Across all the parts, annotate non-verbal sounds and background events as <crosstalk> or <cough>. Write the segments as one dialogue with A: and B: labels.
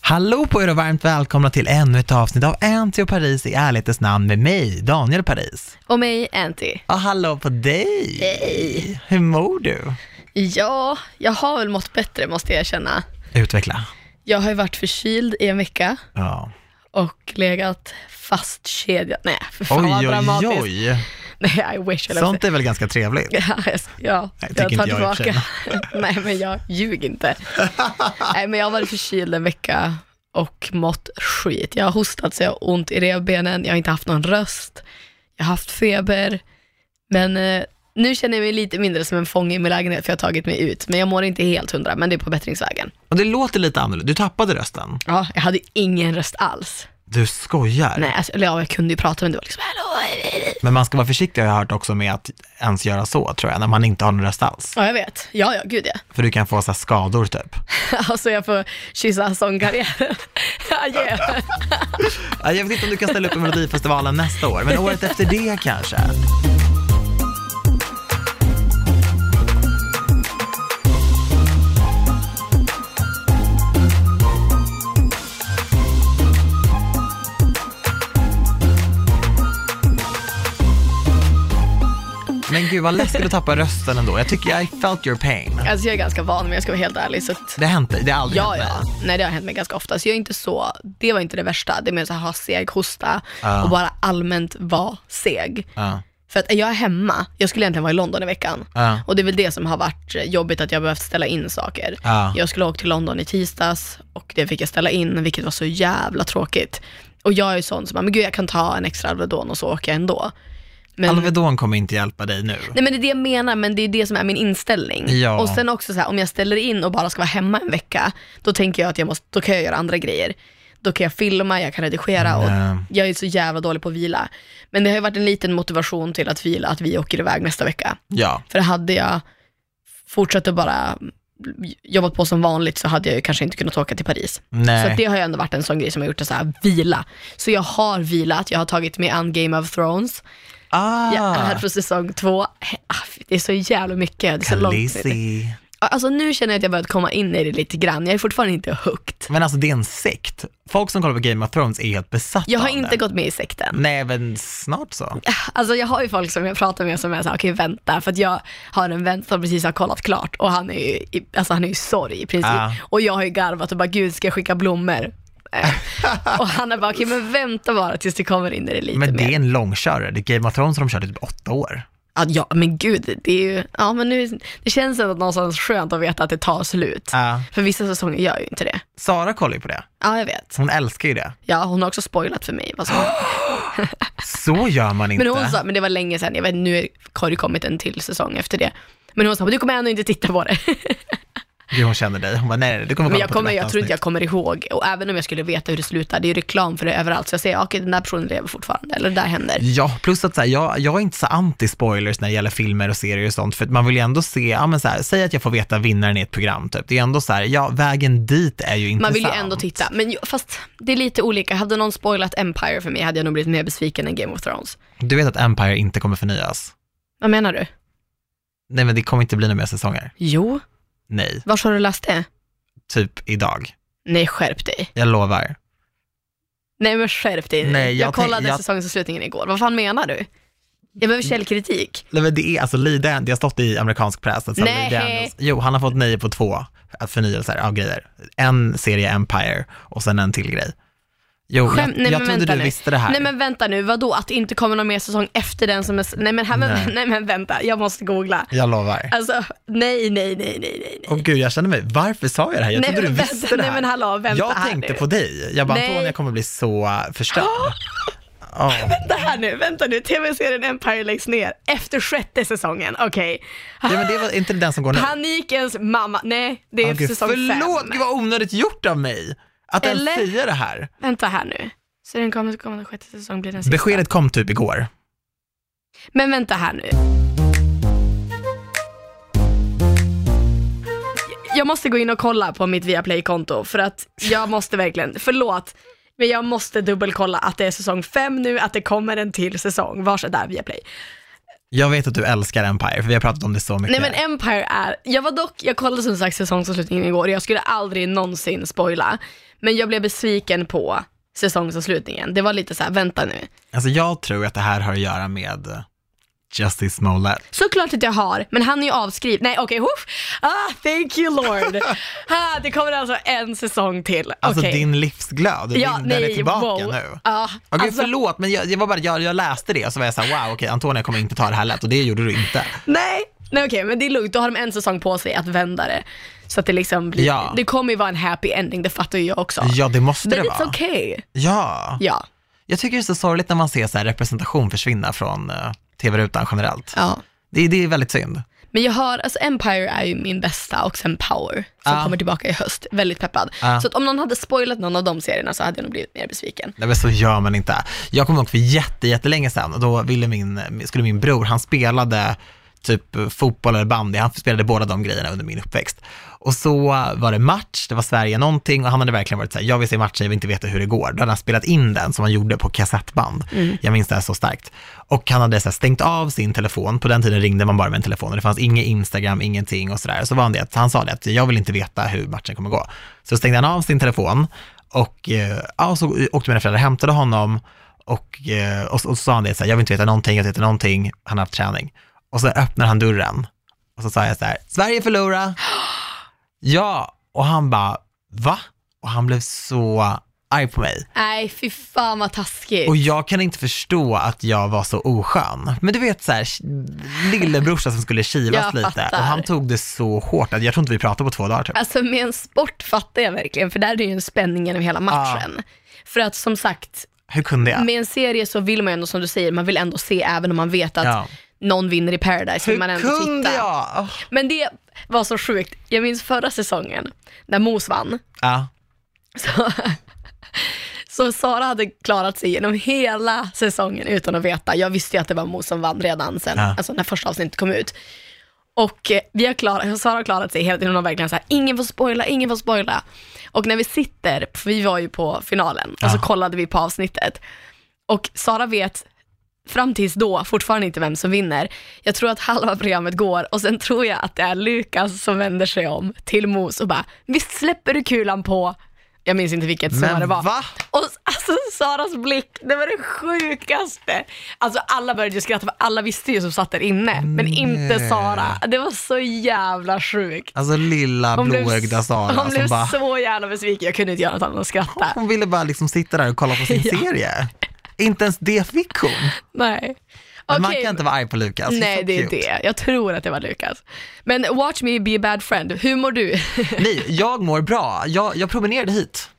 A: Hallå på er och varmt välkomna till ännu ett avsnitt av Anty och Paris i ärlighetens namn med mig, Daniel Paris.
B: Och mig, Anty.
A: Och hallå på dig! Hej! Hur mår du?
B: Ja, jag har väl mått bättre måste jag erkänna.
A: Utveckla.
B: Jag har ju varit förkyld i en vecka
A: Ja.
B: och legat fastkedjad. Nej, för fan
A: Oj,
B: vad
A: oj,
B: dramatiskt.
A: oj.
B: Nej, I wish. eller
A: Sånt är väl ganska trevligt?
B: <laughs> Ja, jag- ja,
A: Nej,
B: jag
A: tycker
B: tar
A: inte jag i och för
B: tillbaka. <laughs> Nej, men jag
A: <laughs>
B: ljug inte. Nej, men jag har varit förkyld en vecka och mått skit. Jag har hostat så jag har ont i revbenen, jag har inte haft någon röst, jag har haft feber. Men eh, nu känner jag mig lite mindre som en fånge i min lägenhet för jag har tagit mig ut. Men jag mår inte helt hundra, men det är på bättringsvägen.
A: Och det låter lite annorlunda. Du tappade rösten.
B: Ja, jag hade ingen röst alls.
A: Du skojar.
B: Nej, alltså, eller ja, jag kunde ju prata men det var liksom hallå. eh, eh."
A: Men man ska vara försiktig har jag hört också med att ens göra så, tror jag, när man inte har någon röst alls.
B: Ja, jag vet. Ja, ja, gud ja. <laughs>
A: För du kan få så här skador typ.
B: Alltså jag får kyssa sångkarriären. <laughs> Ja, yeah.
A: Ja, Jag vet inte om du kan ställa upp i Melodifestivalen nästa år, men året efter det kanske. Men gud vad läskigt att tappa rösten ändå. Jag tycker I felt your pain.
B: Alltså jag är ganska van men jag ska vara helt ärlig. Så att,
A: Det har hänt dig, det har aldrig
B: ja,
A: hänt
B: ja.
A: mig.
B: Nej, det har hänt mig ganska ofta. Så jag är inte så, det var inte det värsta. Det är mer så här, ha seg hosta
A: Ja.
B: och bara allmänt vara seg.
A: Ja.
B: För att jag är hemma, jag skulle egentligen vara i London i veckan.
A: Ja.
B: Och det är väl det som har varit jobbigt att jag behövt ställa in saker.
A: Ja.
B: Jag skulle ha åkt till London i tisdags och det fick jag ställa in, vilket var så jävla tråkigt. Och jag är ju sån som, bara, men gud jag kan ta en extra Alvedon och så åker jag ändå. Men,
A: Alvedon kommer inte hjälpa dig nu.
B: Nej men det är det jag menar, men det är det som är min inställning.
A: Ja.
B: Och sen också så här, om jag ställer in och bara ska vara hemma en vecka, då tänker jag att jag måste, då kan jag göra andra grejer. Då kan jag filma, jag kan redigera
A: Nej.
B: och jag är så jävla dålig på att vila. Men det har ju varit en liten motivation till att vila, att vi åker iväg nästa vecka.
A: Ja.
B: För hade jag fortsatt att bara jobbat på som vanligt så hade jag ju kanske inte kunnat åka till Paris.
A: Nej.
B: Så att det har ju ändå varit en sån grej som har gjort att så här, vila. Så jag har vilat, jag har tagit mig an Game of Thrones,
A: Ah.
B: Ja, här på säsong två. Ah, Det är så jävla mycket. Det är så långt.
A: Khaleesi.
B: Alltså nu känner jag att jag börjat komma in i det lite grann. Jag är fortfarande inte hooked.
A: Men alltså det är en sekt. Folk som kollar på Game of Thrones är helt besatta
B: Jag har
A: av
B: inte
A: den.
B: gått med i sekten.
A: Nej, men snart så.
B: Alltså jag har ju folk som jag pratar med som är såhär, okej vänta, för att jag har en vän som precis har kollat klart och han är ju i, alltså han är ju i sorg i princip.
A: Ja.
B: Och jag har ju garvat och bara, gud ska jag skicka blommor?
A: <laughs>
B: Eh, och han är bara, okej men vänta bara tills du kommer in i det lite
A: Men det
B: mer.
A: är en långkörare. Det är Game of Thrones de körde i typ åtta år.
B: Ja, Ja men gud, det är ju, ja men nu, det känns ändå någonstans skönt att veta att det tar slut.
A: Ja.
B: För vissa säsonger gör ju inte det.
A: Sara kollar ju på det.
B: Ja, jag vet.
A: Hon älskar ju det.
B: Ja, hon har också spoilat för mig. Vad som- <gasps>
A: Så gör man inte.
B: <laughs> men hon sa, men det var länge sedan, jag vet, nu är- har det kommit en till säsong efter det. Men hon sa, men du kommer ändå inte titta på det.
A: Gud, hon känner dig. Hon bara, nej, nej, du kommer
B: Men
A: kolla
B: jag,
A: på
B: kommer,
A: ett
B: jag tror inte
A: avsnitt.
B: jag kommer ihåg, och även om jag skulle veta hur det slutar, det är ju reklam för det överallt, så jag säger, "Ja, okej den där personen lever fortfarande, eller det där händer.
A: Ja, plus att så här, jag, jag är inte så anti-spoilers när det gäller filmer och serier och sånt, för att man vill ju ändå se, ja men så här, säg att jag får veta vinnaren i ett program typ. Det är ändå så här, ja vägen dit är ju
B: Man
A: intressant.
B: vill ju ändå titta, men ju- fast det är lite olika. Hade någon spoilat Empire för mig hade jag nog blivit mer besviken än Game of Thrones.
A: Du vet att Empire inte kommer förnyas?
B: Vad menar du?
A: Nej men det kommer inte bli några mer säsonger.
B: Jo,
A: Nej,
B: var har du läst det?
A: typ idag.
B: Nej, skärp dig.
A: Jag lovar.
B: Nej men skärp dig
A: Nej,
B: Nej, jag,
A: jag tänk-
B: kollade
A: jag-
B: säsongsavslutningen igår, vad fan menar du? Jag behöver källkritik.
A: Nej men det är alltså Lee Dan, det har stått i amerikansk press att så här,
B: Nej.
A: Lee Daniels, jo han har fått nej på två förnyelser av grejer. En serie Empire och sen en till grej. Jo,
B: Skäm-
A: jag, jag trodde
B: vänta
A: du
B: nu.
A: visste det här.
B: Nej men vänta nu, vadå att det inte kommer någon mer säsong efter den som är... s- Nej men, här,
A: Nej.
B: nej. <laughs> nej men vänta, jag måste googla.
A: Jag lovar.
B: Alltså, nej, nej, nej, nej, nej. nej.
A: Åh gud, jag känner mig, varför sa jag det här? Jag
B: Nej,
A: trodde du
B: men vänta,
A: visste det här.
B: nej, men hallå, vänta
A: jag
B: här
A: tänkte
B: nu.
A: på dig. Jag bara,
B: Nej.
A: Antonija kommer bli så
B: <gasps>
A: förstörd. Ja.
B: Vänta här nu, vänta nu, tv-serien Empire läggs ner efter sjätte säsongen, okej.
A: Ja, men det var inte den som går nu.
B: Panikens mamma, nej det är
A: Åh, gud,
B: säsong
A: förlåt,
B: fem.
A: gud vad onödigt gjort av mig. Att
B: Eller?
A: ens säga det här.
B: Vänta här nu. Så den kommande, kommande sjätte säsong blir den sista.
A: Beskedet kom typ igår.
B: Men vänta här nu. Jag måste gå in och kolla på mitt Viaplay-konto för att jag måste verkligen, förlåt, men jag måste dubbelkolla att det är säsong fem nu, att det kommer en till säsong. Varsågod där Viaplay.
A: Jag vet att du älskar Empire, för vi har pratat om det så mycket.
B: Nej men Empire är, jag var dock, jag kollade som sagt säsongsavslutningen igår och jag skulle aldrig någonsin spoila. Men jag blev besviken på säsongsavslutningen. Det var lite så här, vänta nu.
A: Alltså jag tror att det här har att göra med Justice Smollett.
B: Såklart att jag har, men han är ju avskriven. Nej okej, okay, ah, thank you
A: <laughs>
B: lord. ah, det kommer alltså en säsong till.
A: Alltså
B: Okej.
A: din livsglöd,
B: Ja,
A: din, den är
B: nej,
A: tillbaka
B: wow.
A: nu.
B: Ja,
A: Okej,
B: alltså,
A: förlåt, men jag, jag, var bara, jag, jag läste det och så var jag så här, wow, okej, Antonia kommer inte ta det här lätt och det gjorde du inte.
B: nej, nej okej, men det är lugnt. Då har de en säsong på sig att vända det. Så att det liksom blir,
A: Ja.
B: det kommer ju vara en happy ending, det fattar ju jag också.
A: Ja, det måste
B: men
A: det
B: it's
A: vara.
B: okay.
A: Ja.
B: Ja.
A: Jag tycker det är så sorgligt när man ser så här representation försvinna från eh, tv-rutan generellt.
B: ja.
A: Det, det är väldigt synd.
B: Men jag har, alltså Empire är ju min bästa och sen Power som
A: Ja.
B: kommer tillbaka i höst. Väldigt peppad.
A: Ja.
B: Så att om någon hade spoilat någon av de serierna så hade jag nog blivit mer besviken.
A: Nej men så gör man inte. Jag kommer ihåg för jätte, jättelänge sedan, och då ville min, skulle min bror, han spelade typ fotboll eller bandy, han spelade båda de grejerna under min uppväxt. Och så var det match, det var Sverige någonting och han hade verkligen varit såhär, jag vill se matchen, jag vill inte veta hur det går. Då hade han spelat in den som han gjorde på kassettband. Jag minns det här så starkt. Och han hade så här stängt av sin telefon, på den tiden ringde man bara med en telefon och det fanns inget Instagram, ingenting och sådär. Så var han det, att- han sa det att jag vill inte veta hur matchen kommer gå. Så stängde han av sin telefon och eh, ja, så åkte mina föräldrar och hämtade honom och, eh, och, så- och så sa han det så här, jag vill inte veta någonting, jag vill inte veta någonting, han har haft träning. Och så öppnar han dörren och så sa jag så här, Sverige förlora. ja, och han bara, va? Och han blev så arg på mig.
B: Nej, fy fan vad taskigt.
A: Och jag kan inte förstå att jag var så oskön. Men du vet så här, lillebrorsan som skulle kivas
B: Jag
A: lite.
B: fattar.
A: Och han tog det så hårt att jag tror inte vi pratade på två dagar typ.
B: Alltså med en sport fattar jag verkligen, för där är det ju en spänning genom hela matchen. För att som sagt,
A: Hur kunde jag?
B: med en serie så vill man ju ändå som du säger, man vill ändå se även om man vet att
A: Ja.
B: någon vinner i Paradise. Vill man
A: Hur
B: ändå
A: kunde
B: titta.
A: jag? Åh.
B: Men det var så sjukt, jag minns förra säsongen när Mos vann,
A: Ja.
B: så, så Sara hade klarat sig genom hela säsongen utan att veta. Jag visste ju att det var Mos som vann redan sen,
A: Ja.
B: alltså när första avsnittet kom ut. Och eh, vi har klarat, Sara har klarat sig hela tiden, hon har verkligen såhär, ingen får spoila, ingen får spoila. Och när vi sitter, för vi var ju på finalen, och så
A: Ja.
B: kollade vi på avsnittet. Och Sara vet fram tills då fortfarande inte vem som vinner. Jag tror att halva programmet går och sen tror jag att det är Lukas som vänder sig om till Mos och bara, visst släpper du kulan på, jag minns inte vilket som
A: Men
B: det var.
A: va?
B: Och s- alltså Saras blick, det var det sjukaste. Alltså alla började ju skratta för alla visste ju som satt där inne, men inte
A: Mm, Nej.
B: Sara. Det var så jävla sjukt.
A: Alltså lilla
B: Hon blev,
A: blåögda Sara
B: hon
A: som
B: blev
A: bara,
B: så jävla besviken, jag kunde inte göra något annat än att skratta.
A: hon ville bara liksom sitta där och kolla på sin
B: <laughs> Ja.
A: serie. Inte ens det fick hon.
B: Nej.
A: Men man
B: Okej.
A: kan inte vara arg på Lukas. He's
B: Nej,
A: so
B: det är
A: cute.
B: det. Jag tror att det var Lukas. Men watch me be a bad friend. Hur mår du? <laughs>
A: Nej, jag mår bra. Jag, jag promenerade hit.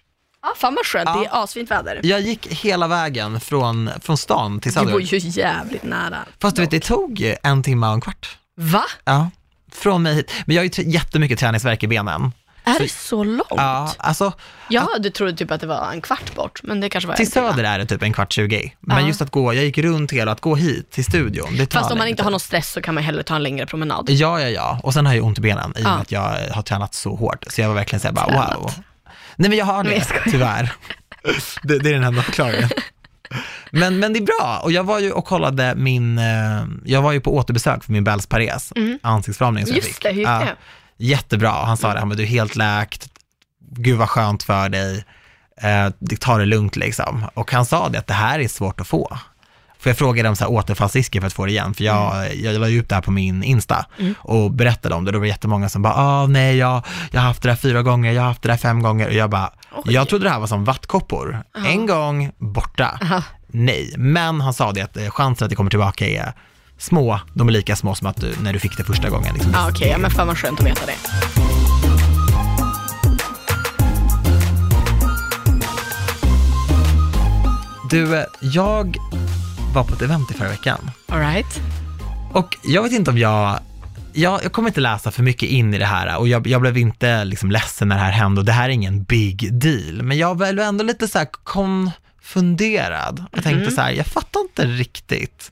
B: ah, fan vad skönt,
A: Ja.
B: det är asfint väder.
A: Jag gick hela vägen från, från stan till
B: Du bor
A: Söderort.
B: ju jävligt nära.
A: Fast du vet, det tog en timme och en kvart.
B: Va?
A: Ja, från mig hit. Men jag har ju t- jättemycket träningsvärk i benen.
B: Är det så långt?
A: Ja, alltså
B: Ja, du trodde typ att det var en kvart bort, men det kanske var
A: till
B: en timme.
A: Söder är det typ en kvart 20. Men
B: Ja.
A: just att gå, jag gick runt hela, att gå hit till studion, det tar
B: Fast om man
A: längre
B: inte
A: tid.
B: har någon stress så kan man hellre ta en längre promenad.
A: Alltså, Ja, ja, ja. Och sen har jag ju ont i benen i och med
B: Ja.
A: att jag eh, har tränat så hårt. Så jag var verkligen såhär bara
B: Tränat.
A: wow. Nej men jag har det,
B: jag skojar.
A: tyvärr. Det, det är den enda förklaringen. Men, men det är bra. Och jag var ju och kollade min, eh, jag var ju på återbesök för min Bell's Pares, ansiktsframning som jag
B: Mm. Just
A: fick.
B: det, hur gick
A: Ja.
B: det?
A: Jättebra. Och Han sa det, han bara, du är helt läkt, gud vad skönt för dig, eh, ta det lugnt liksom. Och han sa det att det här är svårt att få. För jag frågade om så här återfallsrisker för att få det igen, för jag,
B: Mm.
A: jag la ju upp det här på min Insta och berättade om det. Då var det jättemånga som bara, ah nej, jag, jag har haft det där fyra gånger, jag har haft det där fem gånger. Och jag bara,
B: Oj.
A: jag trodde det här var som vattkoppor. En gång, borta. Nej, men han sa det att eh, chansen att det kommer tillbaka är små, de är lika små som att du, när du fick det första gången. Liksom.
B: Ja, okej, ja, men fan vad skönt att veta det.
A: Du, eh, jag var på ett event i förra veckan
B: Alright.
A: och jag vet inte om jag, jag, jag kommer inte läsa för mycket in i det här och jag, jag blev inte liksom ledsen när det här hände och det här är ingen big deal, men jag blev ändå lite så här konfunderad och tänkte så här, jag fattar inte riktigt.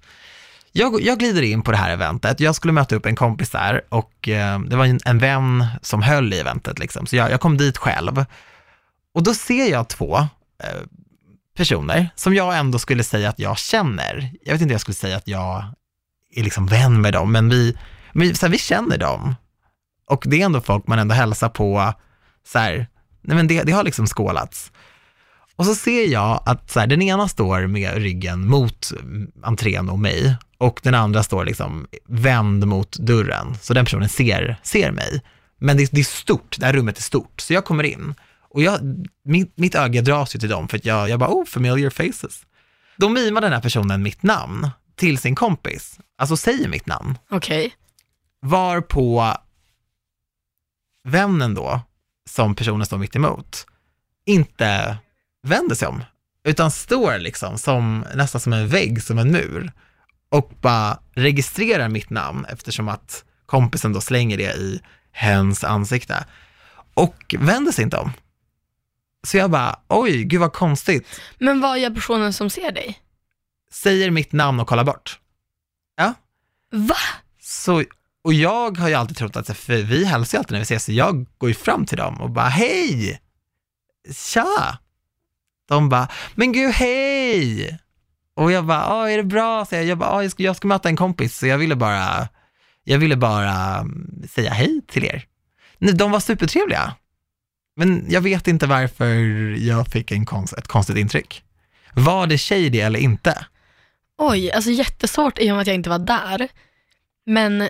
A: Jag, jag glider in på det här eventet, jag skulle möta upp en kompis där och eh, det var en, en vän som höll i eventet liksom, så jag, jag kom dit själv och då ser jag två eh, personer som jag ändå skulle säga att jag känner. Jag vet inte om jag skulle säga att jag är liksom vän med dem, men vi, vi, så här, vi känner dem. Och det är ändå folk man ändå hälsar på, så här, Nej, men det, det har liksom skålats. Och så ser jag att så här, den ena står med ryggen mot entrén och mig och den andra står liksom vänd mot dörren. Så den personen ser, ser mig. Men det, det är stort, det här rummet är stort. Så jag kommer in och jag, mitt, mitt öga dras ju till dem för att jag, jag bara, oh, familiar faces. Då mimar den här personen mitt namn till sin kompis, alltså säger mitt namn.
B: Okej.
A: Var på vännen då, som personen står mitt emot, inte vänder sig om, utan står liksom som, nästan som en vägg, som en mur och bara registrerar mitt namn eftersom att kompisen då slänger det i hens ansikte och vänder sig inte om. Så jag bara, oj, gud vad konstigt
B: Men vad gör personen som ser dig?
A: säger mitt namn och kollar bort.
B: Va?
A: Så, och jag har ju alltid trott att, för vi hälsar ju alltid när vi ses, så jag går ju fram till dem och bara hej, tja. De bara, men gud hej. Och jag bara, "Ja, är det bra? Så jag, jag bara, "Ja, jag ska, jag ska möta en kompis, så jag ville bara, jag ville bara mm, säga hej till er. Nej, de var supertrevliga. Men jag vet inte varför jag fick en konst, ett konstigt intryck. Var det tjej det eller inte?
B: Oj, alltså jättesvårt i och med att jag inte var där. Men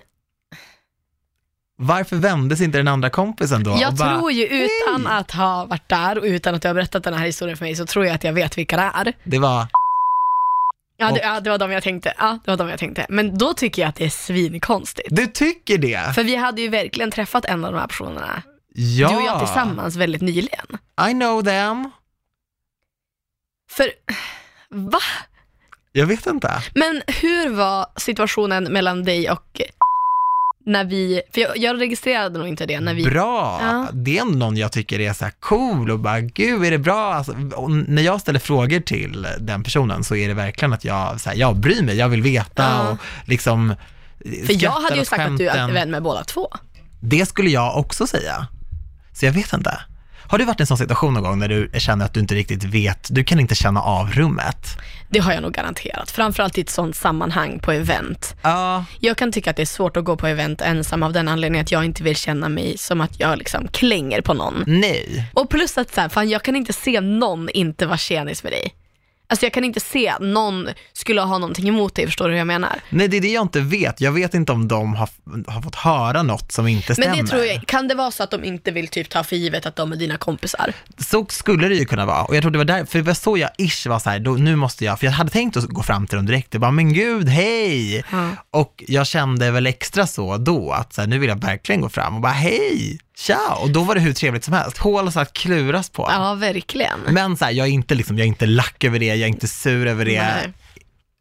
A: Varför vände sig inte den andra kompisen då?
B: jag
A: och bara,
B: tror ju utan att ha varit där och utan att du har berättat den här historien för mig så tror jag att jag vet vilka det är.
A: Det var,
B: Ja, det,
A: Och-
B: ja, det var de jag tänkte. Ja, det var de jag tänkte. Men då tycker jag att det är svinkonstigt.
A: du tycker det?
B: För vi hade ju verkligen träffat en av de här personerna,
A: Ja,
B: du och jag tillsammans, väldigt nyligen.
A: I know them.
B: För, va?
A: Jag vet inte.
B: Men hur var situationen mellan dig och när vi, för jag, jag registrerade nog inte det när vi,
A: Bra!
B: Ja.
A: Det är ändå någon jag tycker är så här cool och bara, gud är det bra? Alltså, och när jag ställer frågor till den personen så är det verkligen att jag, så här, jag bryr mig, jag vill veta
B: Ja.
A: och liksom
B: för jag
A: skrattar
B: hade ju
A: åt
B: sagt att du är
A: skämten.
B: vän med båda två.
A: Det skulle jag också säga. Så jag vet inte. Har du varit i en sån situation någon gång när du känner att du inte riktigt vet, du kan inte känna av rummet?
B: Det har jag nog garanterat, framförallt i ett sånt sammanhang på event.
A: Ja,
B: Jag kan tycka att det är svårt att gå på event ensam av den anledningen att jag inte vill känna mig som att jag liksom klänger på någon.
A: nej.
B: Och plus att så här, fan jag kan inte se någon inte vara tjenis med dig. Alltså jag kan inte se att någon skulle ha någonting emot dig, förstår du hur jag menar?
A: Nej, det är det jag inte vet. Jag vet inte om de har, har fått höra något som inte stämmer.
B: Men det tror jag, kan det vara så att de inte vill typ ta för givet att de är dina kompisar?
A: Så skulle det ju kunna vara. Och jag tror det var där, för det var så jag ish var så här, då, nu måste jag, för jag hade tänkt att gå fram till dem direkt och bara, men gud, hej!
B: Ja.
A: Och jag kände väl extra så då, att så här, nu vill jag verkligen gå fram och bara, hej, tja! Och då var det hur trevligt som helst. Hål så att kluras på.
B: Ja, verkligen.
A: Men så här, jag är inte liksom, jag är inte lack över det, jag är inte sur över det.
B: Nej.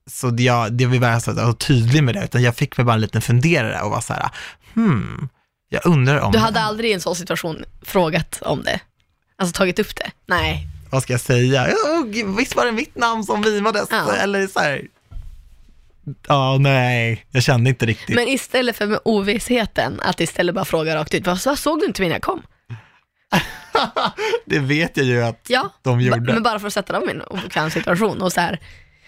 A: Så det, jag, det vill vara så att jag var tydlig med det, utan jag fick mig bara en liten funderare och var så här, hmm, jag undrar om,
B: Du hade aldrig i en sån situation frågat om det? Alltså tagit upp det? Nej.
A: vad ska jag säga? Oh, gud, visst var det mitt namn som vimades?
B: Ja.
A: Eller så här, ja, nej, jag kände inte riktigt.
B: Men istället för med ovissheten, att istället bara fråga rakt ut, vad, vad såg du inte mig när jag kom?
A: det vet jag ju att
B: Ja,
A: de
B: ba-
A: gjorde.
B: men bara för att sätta dem i en obekväm situation och så här.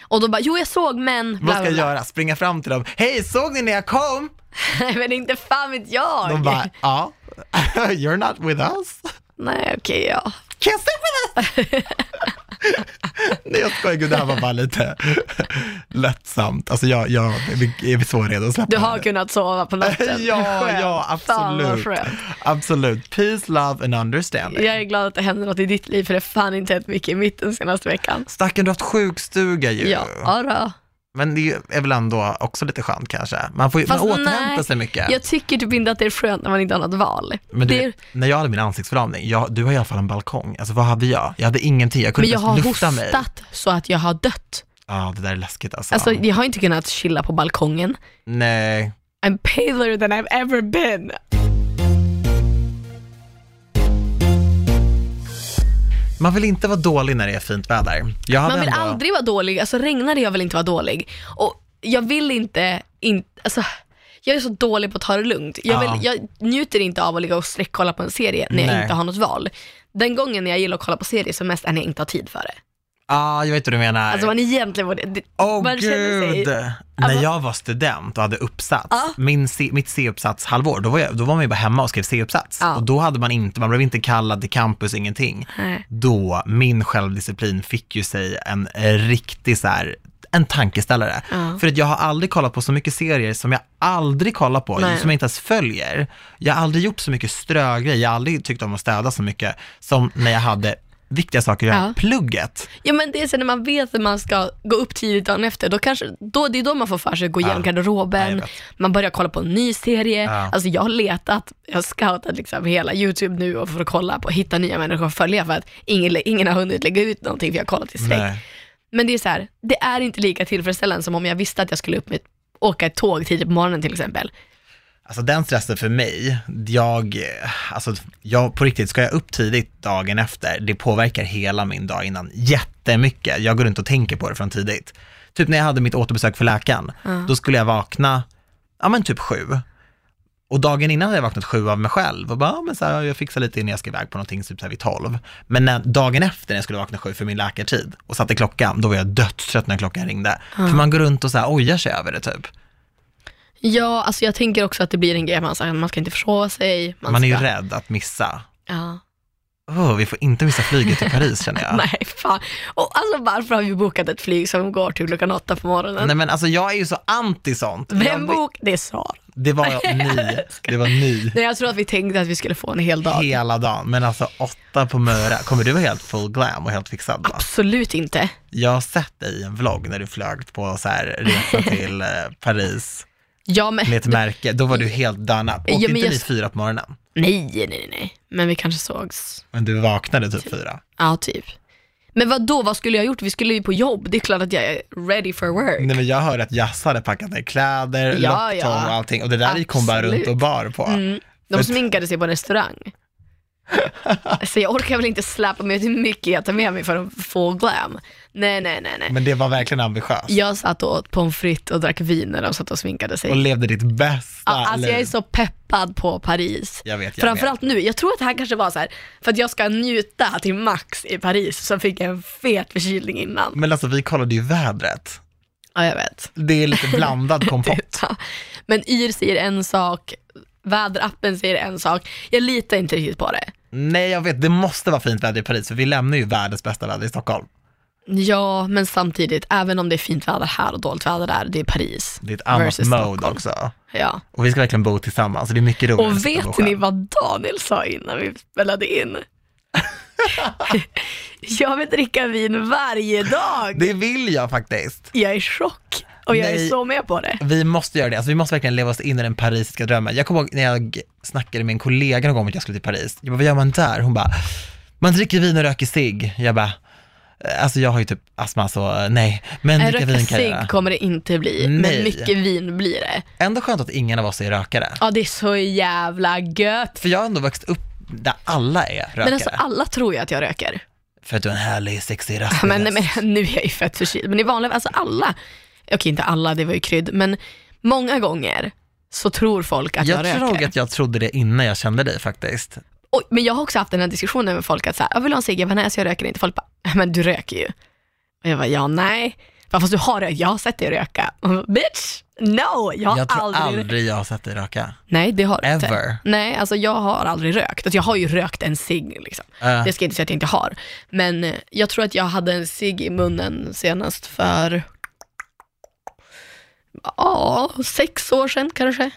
B: Och då bara, jo jag såg men, bla,
A: vad ska
B: bla,
A: jag
B: bla.
A: göra? Springa fram till dem, hej, såg ni när jag kom?
B: Nej <laughs> men inte fan vet jag.
A: De bara, ja, <laughs> you're not with us.
B: Nej okej, ja.
A: Can't sleep with us! <laughs> Nej jag skojar, gud det här var bara lite lättsamt. Alltså jag, jag är så redo att släppa
B: Du har
A: det.
B: kunnat sova på
A: <laughs>
B: natten.
A: Ja,
B: Skönt.
A: ja
B: Fan, vad
A: absolut.
B: skönt.
A: Absolut. Peace, love and understanding.
B: Jag är glad att det händer något i ditt liv för det har fan inte hänt mycket i mitt den senaste veckan.
A: Stacken, du har haft sjukstuga ju.
B: Ja, ja då.
A: Men det är väl ändå också lite skönt kanske. Man får ju man
B: Fast
A: återhämta
B: nej,
A: sig mycket.
B: Jag tycker typ inte att det är skönt när man inte har något val.
A: Men du,
B: det är,
A: vet, när jag hade min ansiktsförlamning, jag, du har i alla fall en balkong. Alltså vad hade jag? Jag hade ingenting, jag kunde
B: men jag
A: inte
B: har
A: ens lufta mig.
B: hostat så att jag har dött.
A: Ja, det där är läskigt alltså.
B: Alltså jag har inte kunnat chilla på balkongen.
A: Nej.
B: I'm paler than I've ever been.
A: Man vill inte vara dålig när det är fint väder. Jag hade
B: Man vill
A: ändå...
B: aldrig vara dålig, alltså regnar det jag vill inte vara dålig. Och jag vill inte, in, alltså, jag är så dålig på att ta det lugnt. Jag, vill,
A: Ja.
B: jag njuter inte av att ligga och sträckkolla på en serie när jag
A: Nej.
B: inte har något val. Den gången när jag gillar att kolla på serier som mest är när jag inte har tid för det.
A: ah, jag vet hur du menar.
B: Alltså man egentligen borde... det-
A: Åh
B: man känner sig-
A: gud! När
B: Alltså-
A: jag var student och hade uppsats,
B: Ja.
A: min C, mitt C-uppsatshalvår, då var, jag, då var man ju bara hemma och skrev C-uppsats.
B: Ja.
A: Och då hade man inte, man blev inte kallad till campus, ingenting.
B: Nej.
A: Då, min självdisciplin fick ju sig en eh, riktig så här, en tankeställare.
B: Ja.
A: För att jag har aldrig kollat på så mycket serier som jag aldrig kollar på,
B: Nej.
A: som jag inte ens följer. Jag har aldrig gjort så mycket strögrejer, jag har aldrig tyckt om att städa så mycket som när jag hade viktiga saker att göra,
B: Ja.
A: plugget.
B: Ja men det är så när man vet att man ska gå upp tidigt dagen efter, då kanske, då, det är då man får för sig att gå igenom
A: Ja. Ja, jag
B: garderoben,
A: vet.
B: man börjar kolla på en ny serie.
A: Ja.
B: Alltså jag har letat, jag har scoutat liksom hela YouTube nu och för att kolla på, hitta nya människor att följa för att ingen, ingen har hunnit lägga ut någonting för jag har kollat i sträck.
A: Nej.
B: Men det är så här, det är inte lika tillfredsställande som om jag visste att jag skulle upp med, åka ett tåg tidigt på morgonen till exempel.
A: Alltså den stressen för mig, jag, eh, alltså jag på riktigt, ska jag upp tidigt dagen efter, det påverkar hela min dag innan jättemycket. Jag går runt och tänker på det från tidigt. Typ när jag hade mitt återbesök för läkaren, då skulle jag vakna, ja men typ sju. Och dagen innan hade jag vaknat sju av mig själv och bara, ja, men så här, jag fixar lite innan jag ska iväg på någonting, typ så här vid tolv. Men när, dagen efter när jag skulle vakna sju för min läkartid och satte klockan, då var jag dödstrött när klockan ringde. För man går runt och så här ojar sig över det typ.
B: Ja, alltså jag tänker också att det blir en grej, att man, så här, man ska inte försova sig.
A: Man, är ju rädd att missa.
B: Ja.
A: Åh, vi får inte missa flyget till Paris känner jag.
B: <laughs> Nej, fan. Och alltså varför har vi bokat ett flyg som går till klockan åtta på morgonen?
A: Nej men alltså jag är ju så anti sånt.
B: Vem
A: Jag-
B: bok? Det är Sara.
A: Det var
B: <laughs>
A: ni, det var ni
B: Nej, jag tror att vi tänkte att vi skulle få en hel dag.
A: hela dagen. Men alltså åtta på Möra, kommer du vara helt full glam och helt fixad då?
B: Absolut inte.
A: Jag har sett dig i en vlogg när du flög på så här resa
B: <laughs>
A: till eh, Paris
B: Ja, men,
A: med ett märke, då var du helt done up. Åkte
B: Ja, men
A: inte
B: jag-
A: ni fyra på morgonen?
B: nej, nej, nej, nej. Men vi kanske sågs.
A: Men du vaknade typ fyra.
B: Ja, typ. Men vad då? vad skulle jag ha gjort? Vi skulle ju på jobb. Det är klart att jag är ready for work.
A: Nej men jag hörde att Jazz hade packat ner kläder,
B: Ja,
A: lockton
B: ja.
A: och allting och det där gick hon bara
B: Absolut.
A: runt och bar på.
B: Mm. De sminkade sig på
A: <laughs>
B: en restaurang. Så jag orkar väl inte släpa mig hur mycket jag tar med mig för att få glam. Nej, nej, nej, nej.
A: Men det var verkligen ambitiöst.
B: Jag satt och åt pommes frites och drack vin när de satt och sminkade sig.
A: Och levde ditt bästa
B: Ja, alltså
A: liv.
B: jag är så peppad på Paris.
A: Jag vet, jag
B: Framförallt nu, jag tror att det här kanske var så här, för att jag ska njuta till max i Paris, så fick jag en fet förkylning innan.
A: Men alltså vi kollade ju vädret.
B: Ja, jag vet.
A: Det är lite blandad kompott.
B: <laughs> Ja. Men yr säger en sak, väderappen säger en sak. Jag litar inte riktigt på det.
A: Nej jag vet, det måste vara fint väder i Paris för vi lämnar ju världens bästa väder i Stockholm.
B: Ja, men samtidigt, även om det är fint väder här och dåligt väder där, det är Paris.
A: Det är ett annat
B: Versus
A: mode
B: Stockholm.
A: också. Och
B: Ja.
A: vi ska verkligen bo tillsammans, så det är mycket roligt.
B: Och vet ni vad Daniel sa innan vi spelade
A: <laughs>
B: in? <laughs> jag vill dricka vin varje dag.
A: Det vill jag faktiskt.
B: Jag är i chock och jag
A: Nej.
B: är så med på det.
A: Vi måste göra det, alltså, vi måste verkligen leva oss in i den parisiska drömmen. Jag kommer ihåg när jag snackade med en kollega någon gång om att jag skulle till Paris. Jag bara, vad gör man där? Hon bara, man dricker vin och röker cigg. Jag bara, alltså jag har ju typ astma så nej, men
B: En
A: dricka vin kan jag
B: rökarcigg
A: göra.
B: kommer det inte bli,
A: Nej.
B: men mycket vin blir det.
A: Ändå skönt att ingen av oss är rökare.
B: Ja, det är så jävla gött.
A: För jag har ändå växt upp där alla är rökare.
B: Men alltså alla tror ju att jag röker.
A: för att du är en härlig, sexig raspig
B: Ja, Men,
A: rass.
B: nej, men nu är jag ju fett förkyld. Men i vanliga, alltså alla, okej inte alla, det var ju krydd, men många gånger så tror folk att jag,
A: jag
B: röker.
A: tror att jag trodde det innan jag kände dig faktiskt.
B: Och, men jag har också haft den här diskussionen med folk att så här, jag vill ha en cigg, jag bara, nej så jag röker inte. Folk bara, men du röker ju. Och jag bara, ja nej. Bara, Fast du har rökt, jag har sett dig röka. Och jag bara, Bitch, no, jag har
A: jag tror
B: aldrig,
A: aldrig, jag har sett dig röka.
B: Nej det har du inte.
A: Ever.
B: Nej, alltså jag har aldrig rökt. Alltså, jag har ju rökt en cigg liksom.
A: Eh,
B: Det ska jag inte säga att jag inte har. Men eh, jag tror att jag hade en cigg i munnen senast för, ja, sex år sedan kanske.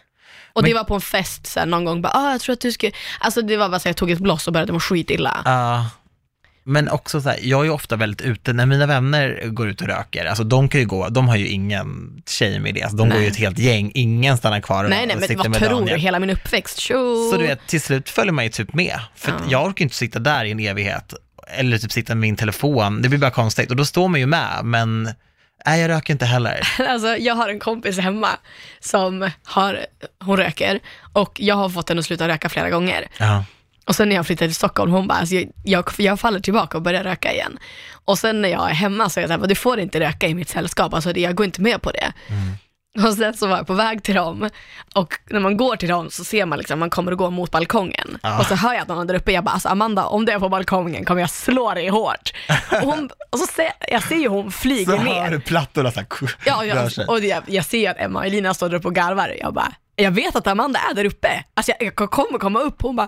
B: Och
A: Men-
B: det var på en fest sen någon gång, bara, ah, jag tror att du skulle, alltså det var bara så här, jag tog ett bloss och började må skitilla.
A: ja. eh, men också så här, jag är ju ofta väldigt ute, när mina vänner går ut och röker, alltså de kan ju gå, de har ju ingen shame i det, alltså, de
B: Nej.
A: går ju ett helt gäng, ingen stannar kvar och
B: nej nej men
A: sitter
B: vad
A: med
B: tror du,
A: Daniel.
B: hela min uppväxt, tjo.
A: Så du vet, till slut följer man ju typ med. För att
B: Ja.
A: jag orkar inte sitta där i en evighet. Eller typ sitta med min telefon. Det blir bara konstigt. Och då står man ju med, men nej jag röker inte
B: <laughs>
A: heller.
B: <laughs> Alltså, jag har en kompis hemma som har, hon röker och jag har fått henne att sluta röka flera gånger.
A: Ja.
B: Och sen när jag flyttade till Stockholm, hon bara, alltså, jag, jag, jag faller tillbaka och börjar röka igen.
A: Mm.
B: Och sen när jag är hemma så är jag såhär, du får inte röka i mitt sällskap, alltså, det- jag går inte med på det. Och sen så var jag på väg till dem och när man går till dem så ser man liksom, man kommer att gå mot balkongen.
A: Ja.
B: Och så hör jag att någon där uppe, jag bara alltså Amanda om du är på balkongen kommer jag slå dig hårt. Och, hon, och så ser jag ser ju hon
A: Så
B: flyger
A: hör
B: ner.
A: du plattorna så här, kuh,
B: Ja,
A: rör
B: jag,
A: sig.
B: och jag, jag ser att Emma och Elina står där uppe och garvar. Jag bara, jag vet att Amanda är där uppe. Alltså jag, jag kommer komma upp. Hon bara,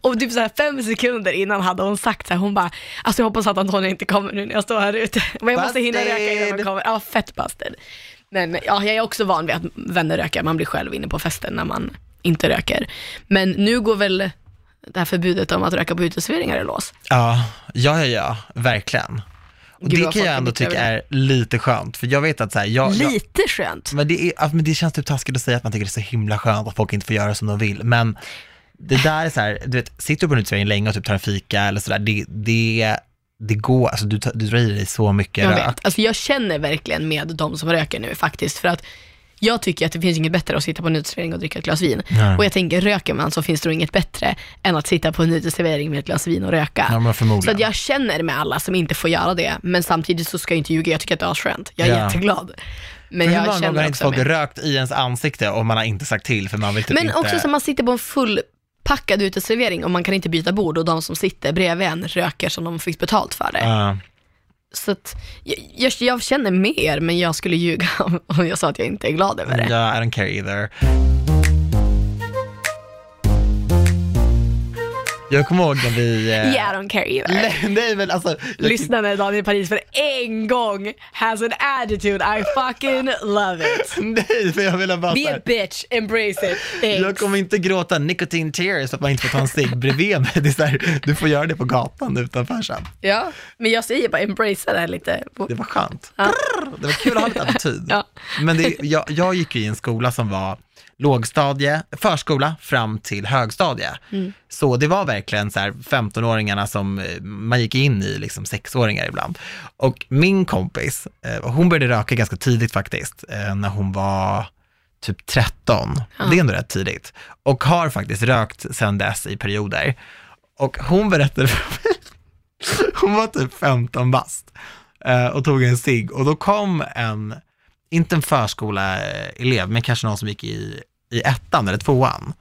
B: och typ så här fem sekunder innan hade hon sagt så här, hon bara, alltså jag hoppas att Antonija inte kommer nu när jag står här ute. <laughs> Men jag måste hinna röka innan hon
A: Busted!
B: kommer. Ja, fett busted. Men ja, jag är också van vid att vänner röker. Man blir själv inne på festen när man inte röker. Men nu går väl det här förbudet om att röka på uteserveringar i lås.
A: Ja, ja, ja, ja, verkligen. Och
B: Gud,
A: det
B: vad
A: kan
B: folk
A: jag
B: är
A: ändå
B: bittra
A: tycka
B: över
A: är lite skönt, för jag vet att så här, jag, jag,
B: Lite skönt.
A: men, det är, ja, men det känns typ taskigt att säga att man tycker det är så himla skönt att folk inte får göra som de vill, men det där är så här, du vet, sitter du på en uteservering länge och typ tar en fika eller sådär, det, det, det går, alltså du, tar- du drar i dig så mycket
B: Jag
A: rök.
B: vet. Alltså jag känner verkligen med de som röker nu faktiskt. För att jag tycker att det finns inget bättre att sitta på en uteservering och dricka ett glas vin.
A: Nej.
B: Och jag tänker, röker man så finns det nog inget bättre än att sitta på en uteservering med ett glas vin och röka.
A: Ja, men
B: så
A: förmodligen.
B: att jag känner med alla som inte får göra det, men samtidigt så ska jag inte ljuga, jag tycker att det är asskönt. Jag är
A: Ja.
B: jätteglad. Men
A: Men hur
B: jag
A: många gånger har
B: känner
A: inte
B: också
A: folk
B: med.
A: rökt i ens ansikte och man har inte sagt till för man vill typ
B: Men
A: inte...
B: också så att man sitter på en fullpackad uteservering och man kan inte byta bord och de som sitter bredvid en röker som de fick betalt för det.
A: Ja.
B: Så att, jag, jag, jag känner med er, men jag skulle ljuga <laughs> om- om jag sa att jag inte är glad över det.
A: Ja, I don't care either. Jag kommer ihåg när vi... eh,
B: Yeah, I don't care either.
A: Nej, <laughs> nej men alltså, jag,
B: Lyssna när Daniel Paris för en gång has an attitude, I fucking love it.
A: <laughs> <laughs> nej men jag ville bara
B: Be
A: så
B: a
A: här,
B: bitch, embrace it.
A: jag
B: Thanks.
A: kommer inte gråta nicotine tears för att man inte får ta en cigg bredvid mig. Det är så här, du får göra det på gatan utanför sen.
B: Ja, men jag säger bara embrace det här lite.
A: Det var skönt. Brrr, Det var kul att ha lite attityd.
B: Ja.
A: Men det, jag, jag gick ju i en skola som var lågstadie, förskola fram till högstadie. Så det var verkligen så här 15-åringarna som eh, man gick in i, liksom sexåringar ibland. Och min kompis, eh, hon började röka ganska tidigt faktiskt, eh, när hon var typ 13. Det är ändå rätt tidigt. Och har faktiskt rökt sedan dess i perioder. Och hon berättade för mig <laughs> hon var typ 15 bast eh, och tog en cigg och då kom en, inte en förskoleelev, men kanske någon som gick i, i ettan eller tvåan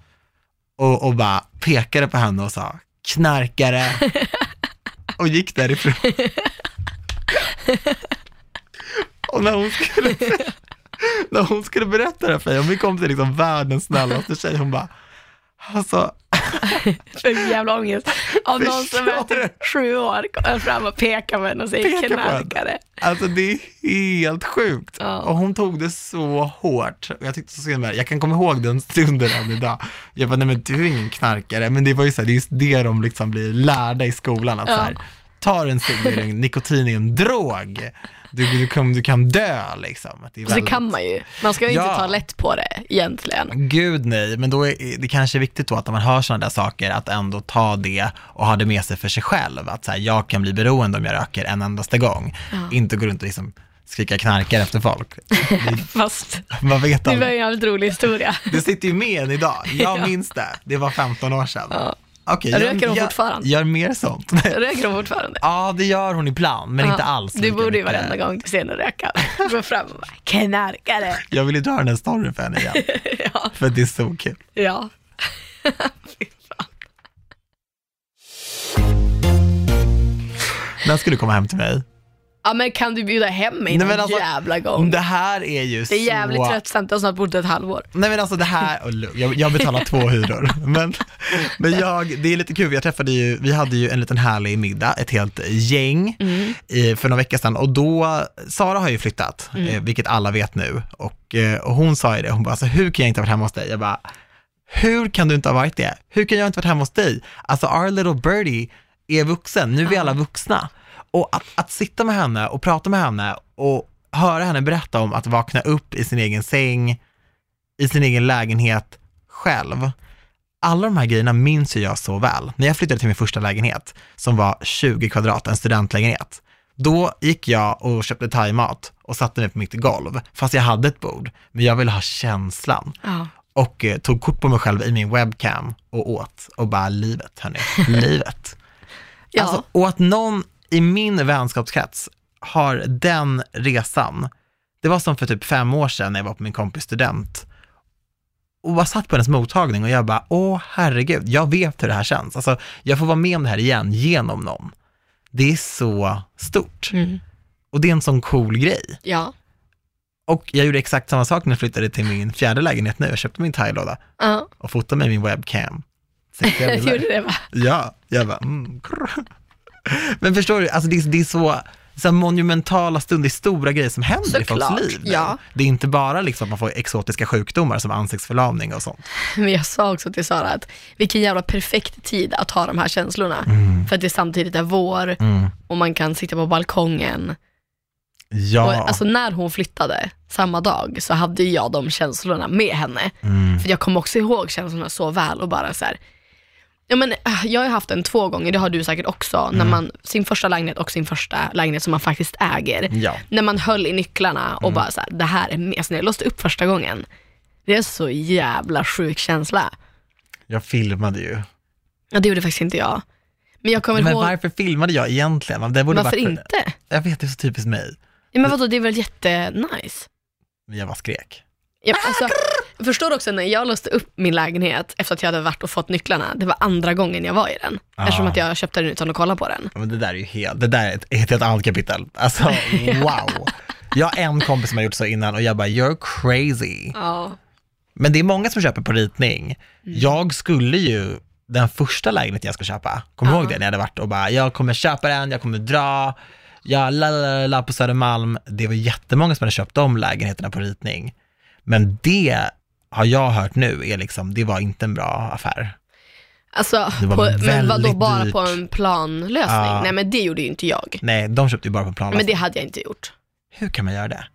A: och, och bara pekade på henne och sa knarkare och gick därifrån. och när hon skulle när hon skulle berätta det här för mig, och min kompis är liksom världens snällaste tjej, hon bara, alltså,
B: För jävla ångest. Av någon som är
A: Förstår du?
B: typ sju år kommer fram och pekar på en och säger
A: Peka på henne.
B: knarkare.
A: Alltså det är helt sjukt.
B: Ja.
A: Och hon tog det så hårt. Och Jag tyckte så synd om henne. Jag kan komma ihåg den stunden än idag. Jag bara, nej men du är ingen knarkare. Men det var ju så här, det är just det de liksom blir lärda i skolan. Att
B: Ja.
A: så här, tar en cigg, är det
B: <laughs>
A: en- nikotin är en drog. Du, du, kan, du kan dö liksom. Att Det är
B: Så Alltså, det
A: väldigt-
B: kan man ju. Man ska ju
A: Ja.
B: inte ta lätt på det egentligen.
A: Gud nej, men då är det kanske är viktigt då att när man hör sådana där saker, att ändå ta det och ha det med sig för sig själv. Att så här, jag kan bli beroende om jag röker en endaste gång. Inte gå runt och liksom skrika knarkare efter
B: <laughs>
A: folk.
B: Fast
A: Man vet
B: det var ju
A: aldrig.
B: en jävligt
A: <laughs>
B: rolig historia.
A: Det sitter ju med än idag.
B: <laughs>
A: Jag minns det. Det var 15 år sedan.
B: Ja.
A: Okej,
B: Röker
A: gör-
B: hon
A: gör-
B: fortfarande?
A: Gör mer sånt. <laughs>
B: Röker hon fortfarande?
A: Ja, det gör hon ibland, men inte
B: Ja,
A: alls.
B: Du
A: lika
B: borde ju
A: mycket.
B: varenda gång du ser henne röka <laughs> gå fram och bara knarkare.
A: Jag vill ju dra den här storyn för henne igen,
B: <laughs> Ja.
A: för det är så kul.
B: ja. Fy fan.
A: När ska du komma hem till mig?
B: ja men kan du bjuda hem mig
A: Nej,
B: någon
A: men alltså,
B: jävla gång?
A: Det här är ju
B: Det är jävligt
A: så
B: tröttsamt, jag har snart bott ett halvår.
A: Nej men alltså det här, och lugn, jag, jag betalar två hyror. Men, men jag, det är lite kul, jag träffade ju, vi hade ju en liten härlig middag, ett helt gäng eh, för några veckor sedan och då, Sara har ju flyttat, eh, vilket alla vet nu och, eh, och hon sa ju det, hon bara alltså, hur kan jag inte ha varit hemma hos dig? Jag bara, hur kan du inte ha varit det? Hur kan jag inte ha varit hemma hos dig? Alltså our little birdie är vuxen, nu är vi alla vuxna. Och att, att sitta med henne och prata med henne och höra henne berätta om att vakna upp i sin egen säng, i sin egen lägenhet själv. Alla de här grejerna minns ju jag så väl. När jag flyttade till min första lägenhet, som var 20 kvadrat, en studentlägenhet, då gick jag och köpte thaimat och satte mig på mitt golv, fast jag hade ett bord. Men jag ville ha känslan
B: Ja.
A: och eh, tog kort på mig själv i min webcam och åt och bara livet, hörni, livet.
B: Ja.
A: Alltså, och att någon i min vänskapskrets har den resan Det var som för typ fem år sedan när jag var på min kompis student och bara satt på hennes mottagning och jag bara, åh herregud, jag vet hur det här känns. Alltså, jag får vara med om det här igen genom någon. Det är så stort.
B: Mm.
A: Och det är en sån cool grej.
B: Ja.
A: Och jag gjorde exakt samma sak när jag flyttade till min fjärde lägenhet nu. Jag köpte min thailåda
B: Ja,
A: och fotade med min webcam.
B: <laughs>
A: Sexiga
B: jag
A: bilder.
B: gjorde det va?
A: Ja, jag bara, mm, krr. <laughs> Men förstår du, alltså det, är, det är så, så här monumentala stunder, det är stora grejer som händer i
B: Såklart,
A: folks liv. nu.
B: ja.
A: Det är inte bara liksom att man får exotiska sjukdomar som ansiktsförlamning och sånt.
B: Men jag sa också till Sara att vilken jävla perfekt tid att ha de här känslorna.
A: Mm,
B: För att det samtidigt är vår och man kan sitta på balkongen. Och,
A: Ja,
B: alltså när hon flyttade samma dag så hade ju jag de känslorna med henne.
A: mm,
B: För jag kommer också ihåg känslorna så väl och bara så här. Ja, men, äh, jag har ju haft en två gånger, det har du säkert också, när
A: Mm.
B: man, sin första lägenhet och sin första lägenhet som man faktiskt äger.
A: ja.
B: När man höll i nycklarna
A: Mm.
B: och bara så här, det här är min. Alltså när jag låste upp första gången, det är så jävla sjuk känsla.
A: Jag filmade ju.
B: Ja, det gjorde faktiskt inte jag. Men jag kommer
A: Men
B: ihåg,
A: varför filmade jag egentligen? Det borde
B: varför
A: varit för-
B: inte?
A: Jag vet, det är så typiskt mig.
B: Ja, men vadå, det är väl jättenice?
A: Men jag var skrek.
B: Ja,
A: <laughs>
B: alltså, jag förstår också när jag låste upp min lägenhet efter att jag hade varit och fått nycklarna, det var andra gången jag var i den.
A: Ah.
B: Eftersom att jag köpte den utan att kolla på den.
A: Ja, Men det där är ju helt, det där är ett, ett helt annat kapitel. Alltså,
B: <laughs>
A: wow. Jag har en kompis som har gjort så innan och jag bara, you're crazy.
B: Ja.
A: Men det är många som köper på ritning.
B: Mm.
A: Jag skulle ju, den första lägenheten jag ska köpa, kommer du
B: Ja.
A: ihåg det när jag hade varit och bara, jag kommer köpa den, jag kommer dra, jag la, la, la, la på Södermalm. Det var jättemånga som hade köpt de lägenheterna på ritning. Men det har jag hört nu är liksom, det var inte en bra affär.
B: Alltså,
A: Det var
B: på, men vadå,
A: väldigt
B: bara
A: dyrt.
B: på en planlösning?
A: Ja. alltså.
B: Nej men det gjorde ju inte jag.
A: Nej, de köpte ju bara på plan.
B: Men det hade jag inte gjort.
A: Hur kan man göra det?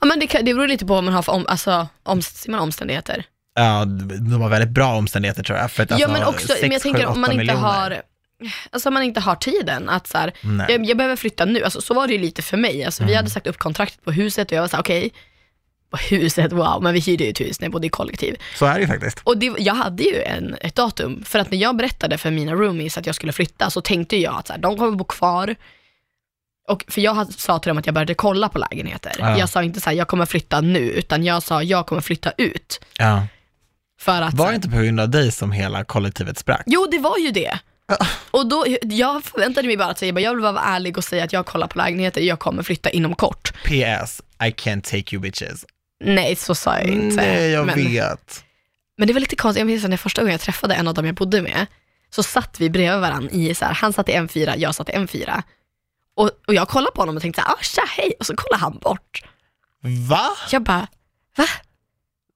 B: Ja, men det, kan, det beror lite på vad man har för om, alltså, om, säger man omständigheter.
A: Ja, de har väldigt bra omständigheter tror jag. För att
B: ja
A: alltså,
B: men också,
A: sex,
B: men jag tänker
A: sju,
B: om man
A: åtta
B: inte
A: miljoner.
B: har Alltså om man inte har tiden att så här,
A: Nej. Mm.
B: jag, jag behöver flytta nu, alltså, så var det ju lite för mig. Alltså, Vi hade sagt upp kontraktet på huset och jag var såhär, okej, på huset, wow, men vi hyrde ju ett hus när jag bodde i kollektiv.
A: Så är det ju faktiskt.
B: Och det, jag hade ju en, ett datum, för att när jag berättade för mina roomies att jag skulle flytta så tänkte jag att så här, de kommer bo kvar. Och, för jag hade- sa till dem att jag började kolla på lägenheter.
A: Ja.
B: Jag sa inte så här, jag kommer flytta nu, utan jag sa, jag kommer flytta ut.
A: Ja.
B: För att,
A: Var det inte på grund av dig som hela kollektivet sprack?
B: Jo, det var ju det. Och då, jag förväntade mig bara att säga, bara, jag vill bara vara ärlig och säga att jag kollar på lägenheter, jag kommer flytta inom kort.
A: PS, I can't take you bitches. Mm.
B: Nej, så sa jag inte.
A: Nej, jag
B: men,
A: vet.
B: men det var lite konstigt, jag minns när första gången jag träffade en av dem jag bodde med, så satt vi bredvid varandra i, så här, han satt i M4, jag satt i M4. Och, och jag kollade på honom och tänkte så här, ah, tja, hej, och så kollade han bort.
A: Va?
B: Jag bara, va?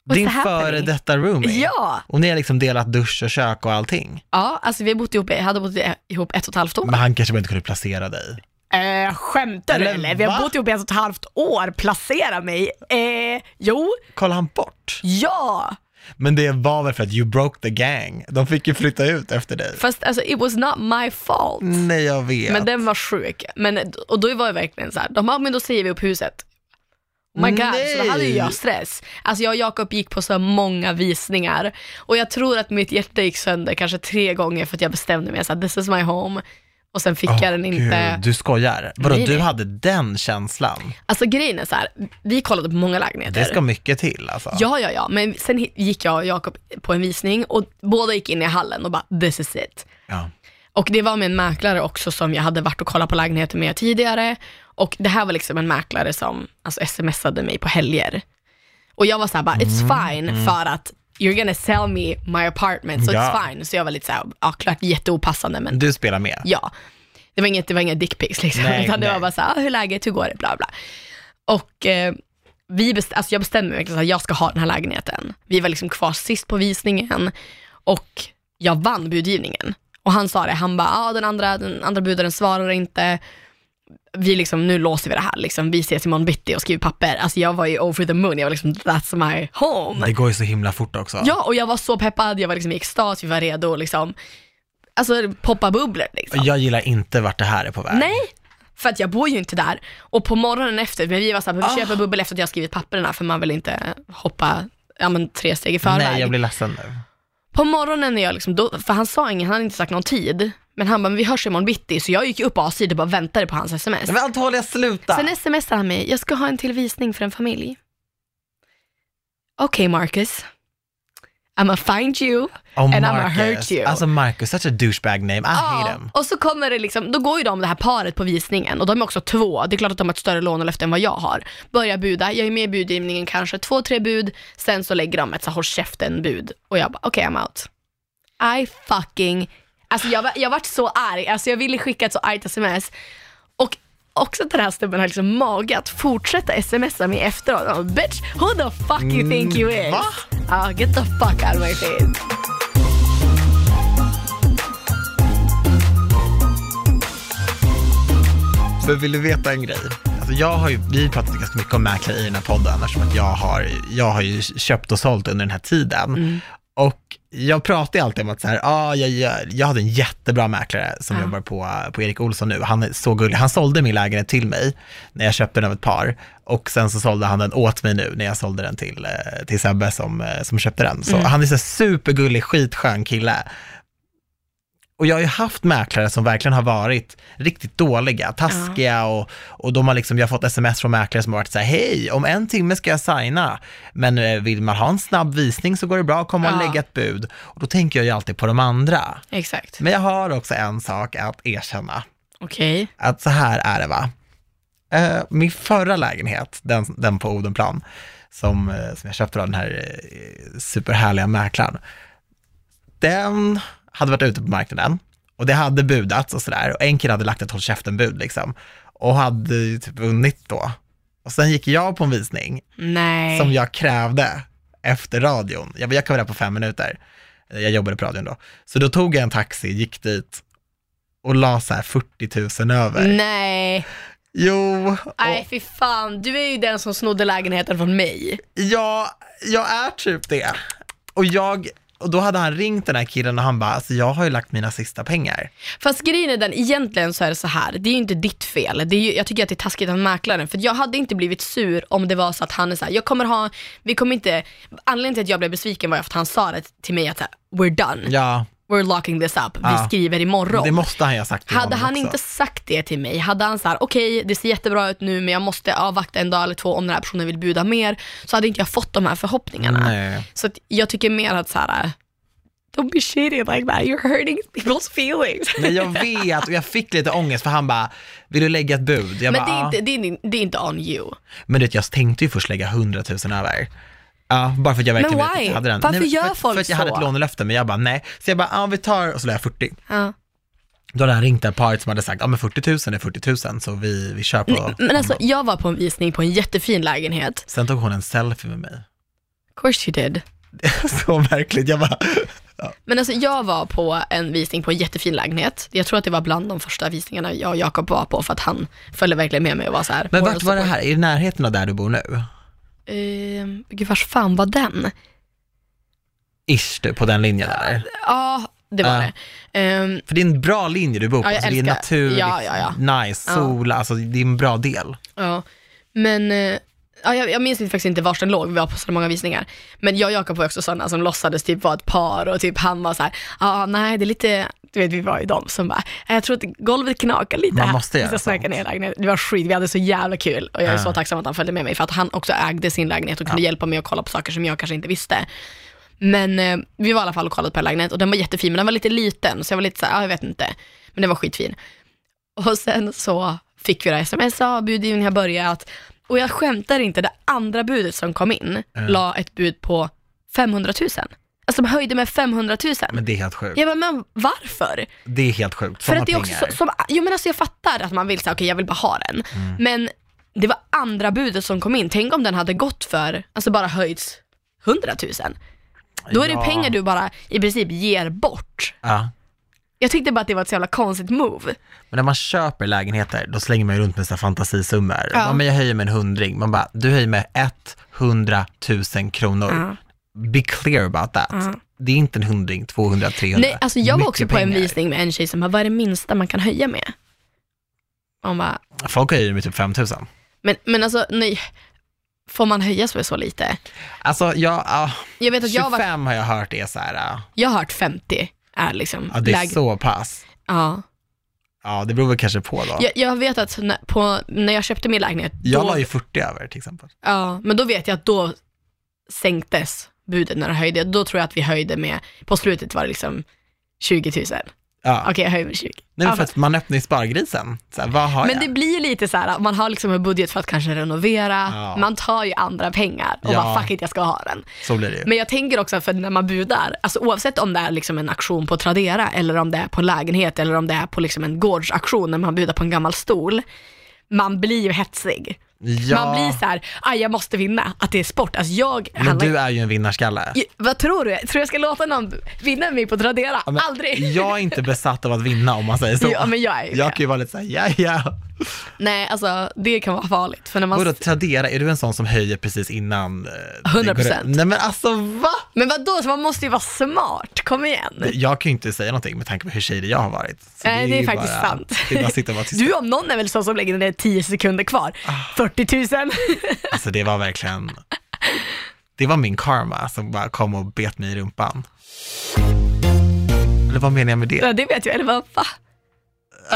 B: What's
A: Din
B: happening?
A: före detta roomie?
B: Ja,
A: Och ni har liksom delat dusch och kök och allting?
B: ja alltså vi har bott ihop, hade bott ihop ett och ett halvt år.
A: Men han kanske bara inte kunde placera dig?
B: Eh, skämtar du
A: Eller
B: eller? Vi har
A: va?
B: bott ihop i ett och ett halvt år, placera mig. Eh, jo,
A: Kolla han bort?
B: ja.
A: Men det var väl för att you broke the gang? De fick ju flytta ut efter dig.
B: Fast alltså it was not my fault.
A: Nej, jag vet.
B: Men den var sjuk. Men, och då var jag verkligen så här, de bara, "Ah, men då säger vi upp huset. Oh my god, så då hade ju
A: Nej.
B: jag stress. Alltså jag och Jakob gick på så många visningar och jag tror att mitt hjärta gick sönder kanske tre gånger för att jag bestämde mig så här, this is my home. Och sen fick
A: Åh,
B: jag den inte.
A: Gud, du skojar? Vadå,
B: Nej,
A: du
B: nej.
A: hade den känslan?
B: Alltså grejen är så här, vi kollade på många lägenheter.
A: Det ska mycket till alltså.
B: Ja, ja, ja. Men sen hi- gick jag och Jakob på en visning och båda gick in i hallen och bara this is it.
A: Ja.
B: Och det var med en mäklare också som jag hade varit och kollat på lägenheter med tidigare. Och det här var liksom en mäklare som alltså, smsade mig på helger. Och jag var såhär bara, it's fine för att you're gonna sell me my apartment, so
A: Ja.
B: it's fine. Så jag var lite såhär, ja klart jätteopassande men
A: Du spelar med?
B: ja. Det var inget, det var inga dickpics liksom,
A: Nej,
B: utan det
A: nej.
B: var bara såhär, ah, hur är läget, hur går det, bla bla. Och eh, vi best, alltså jag bestämde mig verkligen att jag ska ha den här lägenheten. Vi var liksom kvar sist på visningen och jag vann budgivningen. Och han sa det, han bara, ah, den, andra, den andra budaren svarar inte. Vi liksom, nu låser vi det här, liksom. vi ses imorgon bitti och skriver papper. Alltså jag var ju over the moon, jag var liksom, that's my home.
A: Det går ju så himla fort också.
B: Ja, och jag var så peppad, jag var liksom i extas, vi var redo liksom. Alltså poppa bubblor liksom.
A: Jag gillar inte vart det här är på väg.
B: Nej, för att jag bor ju inte där. Och på morgonen efter, men vi var såhär, vi
A: Ah.
B: köper bubbel efter att jag har skrivit papperna för man vill inte hoppa ja, men tre steg i förväg.
A: Nej, jag blir ledsen nu.
B: På morgonen när jag liksom, då, för han sa inget, han hade inte sagt någon tid. Men han bara, men vi hörs imorgon bitti. Så jag gick upp avsides och bara väntade på hans sms.
A: Men Antonija, sluta!
B: Sen smsar han mig, jag ska ha en till visning för en familj. Okej Marcus, I'mma find you
A: Oh,
B: and I'mma
A: Marcus.
B: hurt you.
A: Alltså Marcus, such a douchebag name. I hate
B: ja,
A: him.
B: och så kommer det liksom, då går ju de det här paret på visningen och de är också två, det är klart att de har ett större lånelöfte än vad jag har. Börjar buda, jag är med i budgivningen kanske, två, tre bud, sen så lägger de ett så här, håll käften-bud och jag bara okej I'm out. I fucking, alltså jag, var- jag vart så arg, alltså jag ville skicka ett så argt sms och också att den här snubben har liksom mage att fortsätta smsa mig efteråt. Jag bara, Bitch, who the fuck you think you is?
A: Mm, va?
B: Ja, get the fuck out of my face.
A: För vill du veta en grej? Alltså jag har ju, vi har ju pratat ganska mycket om mäklare i den här podden eftersom att jag har, jag har ju köpt och sålt under den här tiden.
B: Mm.
A: Och jag pratar ju alltid om att så här, ah, jag, jag, jag hade en jättebra mäklare som
B: Ja.
A: jobbar på, på Erik Olsson nu. Han är så gullig. Han sålde min lägenhet till mig när jag köpte den av ett par. Och sen så sålde han den åt mig nu när jag sålde den till, eh, till Sebbe som, eh, som köpte den.
B: Mm.
A: Så han är så här supergullig, skitskön kille. Och jag har ju haft mäklare som verkligen har varit riktigt dåliga, taskiga och, och de har liksom, jag har fått sms från mäklare som har varit så här, hej, om en timme ska jag signa, men eh, vill man ha en snabb visning så går det bra att komma och
B: Ja.
A: lägga ett bud. Och då tänker jag ju alltid på de andra.
B: Exakt.
A: Men jag har också en sak att erkänna,
B: Okej.
A: att så här är det va. Eh, min förra lägenhet, den, den på Odenplan, som, eh, som jag köpte av den här eh, superhärliga mäklaren, den hade varit ute på marknaden och det hade budats och sådär. Och en kille hade lagt ett håll käften-bud liksom och hade ju typ vunnit då. Och sen gick jag på en visning
B: Nej.
A: som jag krävde efter radion. Jag, bara, jag kan vara där på fem minuter. Jag jobbade på radion då. Så då tog jag en taxi, gick dit och la så här 40 000 över.
B: Nej,
A: Jo, och
B: nej fy fan. Du är ju den som snodde lägenheten från mig.
A: jag, jag är typ det. Och, jag, och då hade han ringt den här killen och han bara, alltså jag har ju lagt mina sista pengar.
B: Fast grejen är den, egentligen så är det så här. det är ju inte ditt fel. Det är ju, jag tycker att det är taskigt av mäklaren, för jag hade inte blivit sur om det var så att han är så här, jag kommer ha, vi kommer inte, anledningen till att jag blev besviken var ju för att han sa det till mig att så här, we're done,
A: Ja,
B: we're locking this up, vi
A: Ja.
B: skriver imorgon.
A: det måste han ju ha sagt till
B: Hade
A: honom
B: han
A: också.
B: inte sagt det till mig, hade han så här: okej det ser jättebra ut nu men jag måste avvakta en dag eller två om den här personen vill bjuda mer, så hade inte jag fått de här förhoppningarna.
A: Nej.
B: Så att jag tycker mer att så här. äh, don't be shitty like that, you're hurting people's feelings.
A: Men
B: <laughs>
A: jag vet, och jag fick lite ångest för han bara, vill du lägga ett bud? Jag
B: Men
A: bara, ah.
B: det
A: "Ja."
B: är, inte, det, är, ni- det är inte on you.
A: Men du vet, jag tänkte ju först lägga 100 000 över. Ja, bara för att jag verkligen
B: Men
A: vet att
B: why?
A: jag hade den.
B: Varför
A: men
B: gör
A: för, att-
B: folk
A: För att jag hade
B: så?
A: ett lånelöfte, men jag bara nej. Så jag bara, ja vi tar, och så la jag 40.
B: Ja.
A: Då hade han ringt det här paret som hade sagt, ja men 40 000 är 40 000, så vi, vi kör på.
B: Men alltså jag var på en visning på en jättefin lägenhet,
A: Sen tog hon en selfie med
B: <laughs>
A: mig.
B: of course you did.
A: så märkligt, jag bara,
B: Men alltså jag var på en visning på en jättefin lägenhet, jag tror att det var bland de första visningarna jag och Jakob var på för att han följde verkligen med mig och var så här.
A: men
B: moral
A: vart var det här? I närheten av där du bor nu?
B: Eh, gud, vars fan var den?
A: Ish, du, på den linjen där.
B: Ja, det var
A: Ja.
B: det. Ehm,
A: För det är en bra linje du bor på,
B: Ja, jag
A: alltså, det är
B: älskar-
A: natur,
B: Ja, ja,
A: nice,
B: Ja.
A: sol, alltså det är en bra del.
B: ja. Men eh, ja, jag, jag minns faktiskt inte vars den låg, vi var på så många visningar. Men jag och Jakob var också sådana som låtsades typ vara ett par och typ han var så här, ja nej det är lite, du vet vi var ju de som bara, "Nej, jag tror att golvet knakar lite
A: Man
B: här."
A: måste
B: Vi
A: göra
B: ska snacka
A: sånt.
B: ner lägenheten. Det var skit, vi hade så jävla kul och jag är
A: Ja.
B: så tacksam att han följde med mig för att han också ägde sin lägenhet och kunde hjälpa mig att kolla på saker som jag kanske inte visste. Men eh, vi var i alla fall och kollade på en lägenhet och den var jättefin men den var lite liten så jag var lite såhär, ah, jag vet inte. Men den var skitfin. Och sen så fick vi det här sms, ah, budgivningen har börjat. Och jag skämtar inte, det andra budet som kom in la ett bud på 500 000. Alltså de höjde med 500 000.
A: Men det är helt sjukt.
B: Jag bara, men varför?
A: Det är helt sjukt,
B: För
A: sådana
B: att det är också
A: pengar.
B: så- som, jo men alltså jag fattar att man vill säga okej jag vill bara ha den. Men det var andra budet som kom in, tänk om den hade gått för, alltså bara höjts 100 000. Då är det
A: Ja.
B: pengar du bara i princip ger bort.
A: Ja.
B: Jag tyckte bara att det var ett så jävla konstigt move.
A: Men när man köper lägenheter, då slänger man ju runt med sina fantasisummor.
B: Ja.
A: Ja. Men jag höjer med en hundring. Man bara, du höjer med 100 000 kronor. Be clear about that. Det är inte en hundring, 200, 300.
B: Nej, alltså jag var
A: Mycket
B: också på en
A: pengar.
B: visning med en tjej som bara, vad är det minsta man kan höja med? Hon bara,
A: Folk höjer med typ 5 000.
B: men, men alltså nej, får man höja sig så lite?
A: Alltså, jag, ah,
B: Jag vet att jag har, varit,
A: 25 har jag hört är så här, ah,
B: jag har hört 50 är liksom
A: ja, det är
B: läg-
A: så pass.
B: Ja.
A: Ja, det beror väl kanske på då.
B: Jag, jag vet att när, på, när jag köpte min lägenhet,
A: Jag
B: då,
A: la ju 40 över till exempel.
B: ja, men då vet jag att då sänktes budet när det höjde. Då tror jag att vi höjde med, på slutet var det liksom 20 000. Okej,
A: Ja.
B: jag höjer med 20.
A: Nej,
B: Ja,
A: men för att man öppnar ju spargrisen. Så här, vad har
B: Men
A: jag?
B: det blir lite så här, man har liksom en budget för att kanske renovera,
A: Ja.
B: man tar ju andra pengar och
A: Ja.
B: bara fuck it, jag ska ha den.
A: Så blir det ju.
B: Men jag tänker också för när man budar, alltså oavsett om det är liksom en auktion på Tradera eller om det är på en lägenhet eller om det är på liksom en gårdsauktion när man budar på en gammal stol, man blir ju hetsig.
A: ja,
B: Man blir så här, "Aj, jag måste vinna, att det är sport. Alltså jag
A: men
B: handlar...
A: du är ju en vinnarskalle.
B: Ju- Vad tror du? Tror jag ska låta någon vinna mig på Tradera?
A: Ja, men
B: Aldrig!
A: Jag är inte besatt av att vinna om man säger så.
B: Ja, men jag är ju
A: jag
B: det.
A: kan ju vara lite såhär, ja ja.
B: Nej, alltså det kan vara farligt. För när man...
A: Vadå Tradera, är du en sån som höjer precis innan? eh, det går-
B: 100%.
A: Nej men alltså va?
B: Men vadå, så man måste ju vara smart, kom igen.
A: Jag kan ju inte säga någonting med tanke på hur shady jag har varit. Så
B: Nej, det är
A: ju
B: faktiskt
A: bara,
B: sant.
A: Det är bara att sitta och vara tyst. Ah.
B: Du om någon är väl sån som lägger ner 10 sekunder kvar.
A: <laughs>
B: 40 000.
A: Alltså det var verkligen, det var min karma som bara kom och bet mig i rumpan. Eller vad menar jag med det?
B: Ja, det vet jag. Eller vad? Va?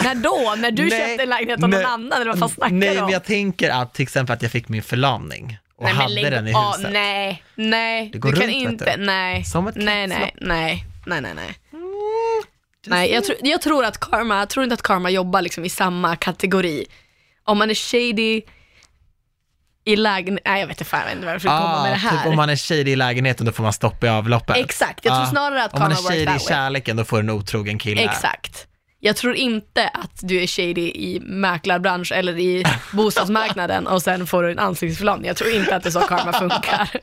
B: När då? När du
A: Nej,
B: köpte en lägenhet av någon
A: nej,
B: annan? Eller vad fan snackar
A: Nej,
B: du om?
A: men jag tänker att till exempel att jag fick min förlamning och
B: men
A: hade
B: lägg
A: den i
B: av.
A: huset.
B: nej, nej.
A: Det går
B: du kan
A: runt, vet
B: inte.
A: du.
B: Nej.
A: Som ett
B: nej, nej,
A: kretslopp. Mm,
B: nej, nej, nej, nej. Nej, jag, tror- jag tror att karma, jag tror inte att karma jobbar liksom i samma kategori. Om man är shady i lägenhet, nej jag vet inte fan jag vet inte varför du kommer med det här.
A: Typ om man är shady i lägenheten då får man stoppa i avloppet.
B: Exakt, jag tror
A: Ah,
B: snarare att
A: Om man är
B: karma works
A: shady i
B: that way.
A: kärleken då får du en otrogen kille.
B: Exakt. Jag tror inte att du är shady i mäklarbransch eller i bostadsmarknaden och sen får du en ansiktsförlamning. Jag tror inte att det är så karma funkar.